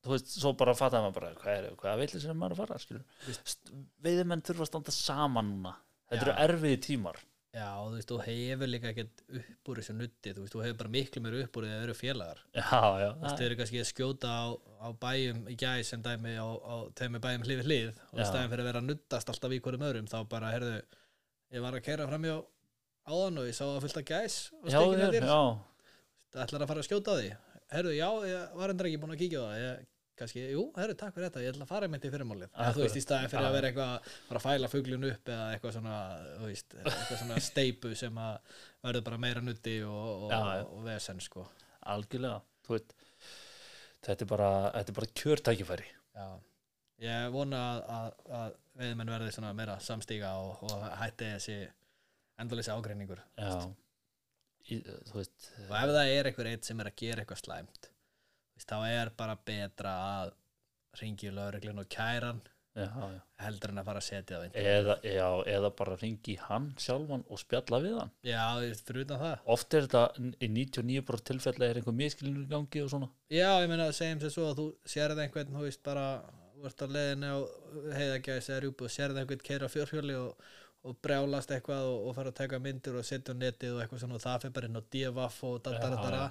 A: þú veist, svo bara fattaði maður bara hvað er, hvað vil þessum maður að fara, skilur veiðimenn þurfa að standa saman núna þetta eru
B: Já.
A: erfiði tímar
B: já, þú veist, þú hefur líka ekkert upp úr þessu nutti, þú veist, þú hefur bara miklu meir upp úr því að það eru félagar
A: já, já,
B: þú veist, þau eru kannski að skjóta á, á bæjum í gæs sem dæmi á, á þeim er bæjum hlið við hlið og í
A: Já.
B: stæðin fyrir að vera að nuttast alltaf í hverjum öðrum þá bara, heyrðu, ég var að kæra framjá áðan og ég sá að fylgta gæs og
A: já,
B: stekina
A: já,
B: þér,
A: já,
B: það ætlar að fara að skjóta á því heyrðu, já, ég var endur ekki búin að kíkja á það ég, kannski, jú, heyrðu, takk fyrir þetta ég ætla að fara einmitt í fyrirmálið, en þú veist, í stæðin fyrir
A: Já.
B: að vera eitthvað að fara að fæla fuglun upp eða eitthvað svona, þú veist, eitthvað svona steipu sem að verður bara meira nutti og, og,
A: Já, já.
B: og vesen, sko
A: algjörlega þú veit, þetta er bara, þetta er bara kjörtækifæri
B: Já, ég vona að, að, að veiðmenn verði svona meira samstíga og, og hætti þessi endalisi ágreiningur
A: já í, þú veist,
B: og ef það er einhver eitt sem er að gera eitthvað slæmt þú veist, þá er bara betra að ringi lögreglun og kæran
A: já, já
B: heldur en að fara að setja það á internet.
A: eða, já, eða bara ringi hann sjálfan og spjalla við hann
B: Já, þú veist, fyrir utan það
A: oft er þetta í 99 bara tilfella er einhver miskilinu í gangi og svona
B: Já, ég meina að segjum sér svo að þú sérð einhvern þú veist bara, þú ert að leiðinu á heiðagæs eða rjúpu og sérð einhvern keira fjórhjóli og, og brjálast eitthvað og, og fara að taka myndir og setja á netið og eitthvað svona og það fyrir bara inn á divaf og dadaradara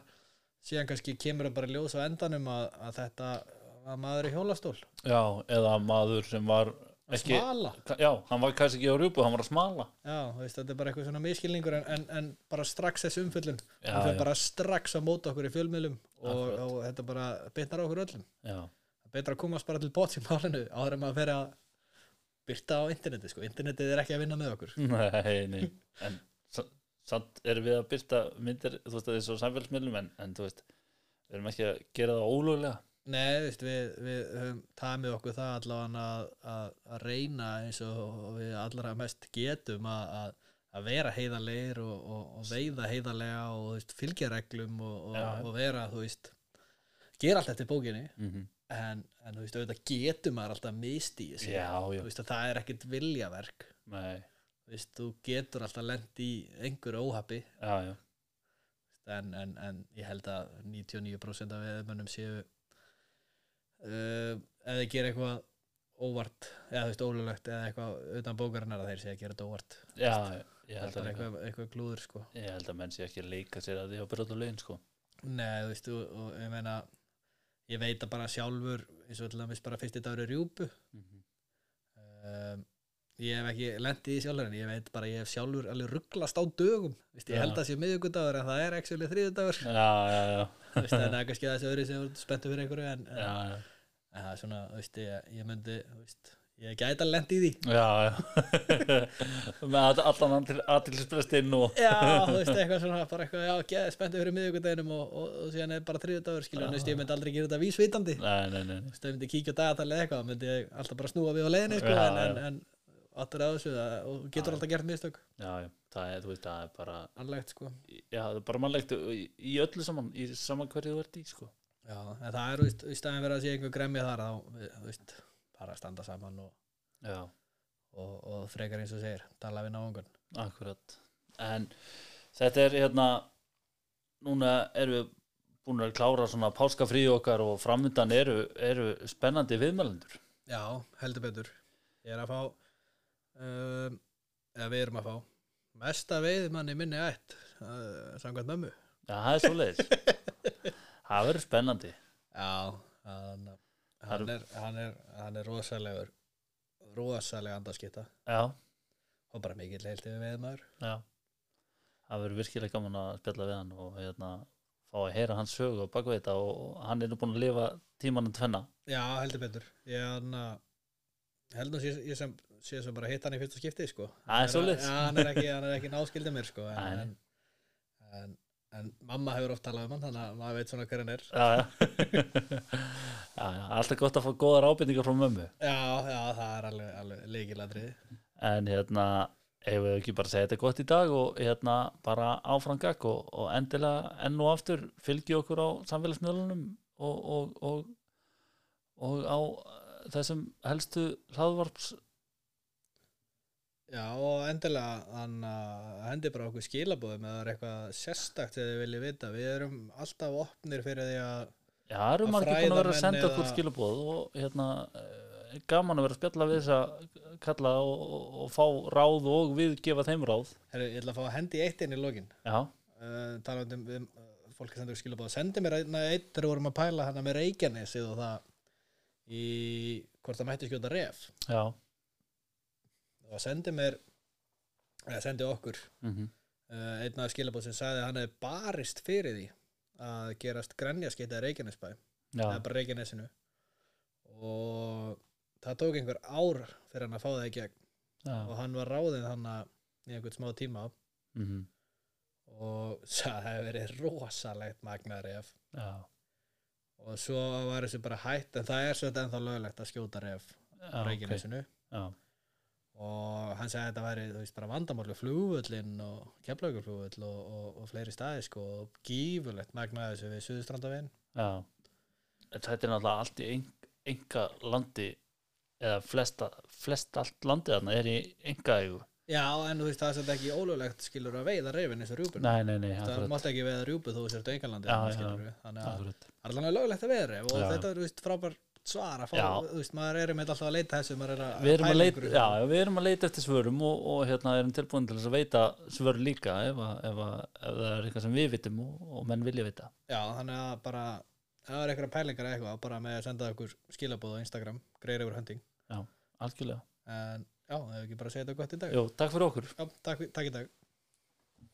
B: síðan kannski kemur það bara í ljós á endanum að, að þetta að maður er í hjólastól
A: já, eða maður sem var ekki,
B: smala,
A: já, hann var kannski ekki á rjúpu hann var að smala
B: já, þú veist, þetta er bara eitthvað svona miskilningur en, en, en bara strax þessi umfyllun
A: Já,
B: hún
A: já.
B: fyrir bara strax að móta okkur í fjölmiðlum og,
A: Akkurat.
B: og þetta bara bitnar á okkur öllum
A: já,
B: betra að komast bara til bótt í málinu áður en maður fer að byrta á interneti sko, internetið er ekki að vinna með okkur
A: *laughs* nei, nei en sa- samt erum við að byrta myndir, þú veist, þessu samfélsmiðlum en, en þú veist, við erum ekki að gera það ólöglega
B: Nei, þú veist, við, við höfum tamið okkur það allavega að, að, að reyna eins og við allra mest getum að, að, að vera heiðarlegir og, og, og veiða heiðarlega og þú veist, fylgja reglum og, og,
A: Já.
B: og vera, þú veist gera allt eftir bókinni
A: mm
B: en, en þú veist, auðvitað getum maður alltaf misti í þessu
A: já,
B: Þú
A: já,
B: veist, að það er ekkit viljaverk
A: nei,
B: Þú veist, þú getur alltaf lent í einhverju óhapi
A: já, já
B: en, en, en ég held að 99% af veðmönnum séu uh, ef þeir gera eitthvað óvart, eða þú veist ólulegt eða eitthvað utan bókarinnar að þeir séu að gera þetta óvart
A: já, ég
B: það er
A: held að
B: bara
A: líka
B: eitthvað, eitthvað glúður sko
A: ég held að menn sé ekki að leika sér að því að byrja á lögin sko
B: Nei, þú veist, og, og ég meina ég veit að bara sjálfur eins og alltaf bara fyrsti dagur er rjúpu um, ég hef ekki lendið í sjálfur en ég veit bara að ég hef sjálfur alveg rugglast á dögum Vist, ég
A: Já.
B: held að sé miðugudagur en það er actually þriðudagur
A: já, já, já,
B: Vist, en það er kannski þessi öðru sem spenntu fyrir einhverju en, en
A: já, já.
B: En það er svona, þú veist, ég, ég myndi, þú veist, ég gæti að lendi í því.
A: Já, já *laughs* með all- allan aðtilsprestinn og
B: Já, *laughs* þú veist, eitthvað svona, bara eitthvað, já, geði spenntið fyrir miðvíkudeginum og, og, og síðan er bara þriðudagur, skilja, en þú veist, ég myndi aldrei gera þetta vísvitandi. Þú
A: Nei, nei, nei, nei.
B: veist, ef ég myndi kíkja á dagatalið eða eitthvað, þá myndi ég alltaf bara snúa við á leiðinni, sko,
A: Já,
B: en,
A: já.
B: en, en áttur að þessu það, og getur alltaf gert mistök,
A: Já, já, það er, þú veist, það er bara
B: anlegt, sko.
A: Já, það er bara mannlegt í, í öllu saman í saman hverju þú ert í, sko
B: Já, en það er, þú veist, í staðin verið að sé einhver gremja þar, þá, þú veist, bara standa saman og,
A: Já,
B: og, og frekar eins og segir, tala við náungan.
A: akkurat En þetta er hérna núna erum við búin að klára svona páskafrí okkar og framundan eru, eru spennandi viðmælendur
B: Já, heldur betur Ég er að fá um, eða við erum að fá mesta veiðmann í minni ætt uh, samkvæmt mömmu
A: Já, það er svoleiðis Það verður spennandi
B: Já, hann, hann, er, hann, er, hann er rosalegur rosalega andaskita
A: Já,
B: og bara mikill heilt yfir veiðmaður
A: já Það verður virkilega gaman að spjalla við hann og hérna fá að heyra hans sögu og bakveita og og hann er nú búin að lifa tímanum tvenna
B: Já, heldur betur Ég hann að held nú sé, ég sem sé sem bara hitt hann í fyrsta skipti sko
A: Það er
B: Hann er-
A: svoleiðis
B: Já, hann er ekki, hann er ekki náskildið mér sko en,
A: Nei.
B: en, en, en mamma hefur oft talað um hann þannig að maður veit svona hver hann er
A: já, já. *laughs* já, já, alltaf gott að fá góðar ábendingar frá mömmu
B: Já, já, það er alveg, alveg leikiladrið
A: en hérna, eigum við ekki bara að segja þetta gott í dag og hérna bara áfram gag og, og endilega enn og aftur fylgi okkur á samfélagsmiðlunum og, og, og, og á eh, þessum helstu hlaðvarps
B: Já, og endilega hann uh, hendi bara okkur skilabóðum eða það er eitthvað sérstakt eða þið viljið vita. Við erum alltaf opnir fyrir því að
A: Já, það eru
B: Að
A: margir búin að vera að
B: fræðamenn
A: senda okkur
B: eða-
A: skilabóð og hérna eh, gaman að vera að spjalla við þessa kalla og, og, og fá ráð og við gefa þeim ráð
B: Herru, ég ætla að fá að hendi eitt inn í lokin
A: Já,
B: uh, talandi um, um uh, fólk sem sendur skilabóð sendi mér einna eitt þegar við vorum að pæla hana með Reykjanesið og það í hvort það mætti skjóta ref
A: já
B: og það sendi mér eða sendi okkur
A: mm
B: uh, einna skilabóð sem sagði að hann hefði barist fyrir því að gerast grænjaskeita í Reykjanesbæ
A: Já,
B: eða bara Reykjanesinu og það tók einhver ár fyrir hann að fá það í gegn
A: já
B: og hann var ráðið hann í einhvern smá tíma
A: mm
B: og *laughs* það hefði verið rosalegt magna ref
A: Já,
B: og svo var þessu bara hætt en það er svo þetta ennþá löglegt að skjóta ref á
A: já, ok,
B: Reykjanesinu
A: já,
B: og hann sagði að þetta væri þú veist, bara vandamálu flugvöllin og keflaugurflugvöll og, og, og fleiri staði sko og gífulegt magnaði þessu við Suðustrandavinn
A: já Þetta er náttúrulega allt í ein, enga landi eða flesta, flest allt landið þarna er í enga eigu
B: Já, en þú veist það er svolítið ekki ólöglegt skilur að veiða refin eins og rjúpun
A: Nei, nei, nei,
B: það
A: akkurat,
B: mátt ekki veiða rjúpu þú sért aukanlandi
A: Já, já,
B: þannig að
A: akkurat.
B: það er alveg löglegt að veiða ref og
A: Já.
B: þetta er þú veist, frábær svar að fá,
A: Já.
B: þú veist, maður er með alltaf að leita þessu maður er að
A: Við erum, að
B: pæla
A: leita,
B: einhverju.
A: já, já, við erum að leita eftir svörum og, og hérna erum tilbúin til þess að veita svör líka ef, að, ef, að, ef það er eitthvað sem við vitum og, og menn vilja vita
B: Já, þannig að bara ef það er eitthvað pælingar eða eitthvað bara með að senda okkur skilabóð á Instagram greiður yfir hönding
A: algjörlega.
B: en já, það hefur ekki bara að segja þetta gott í dag
A: Jú, takk fyrir okkur
B: Já, takk, takk í dag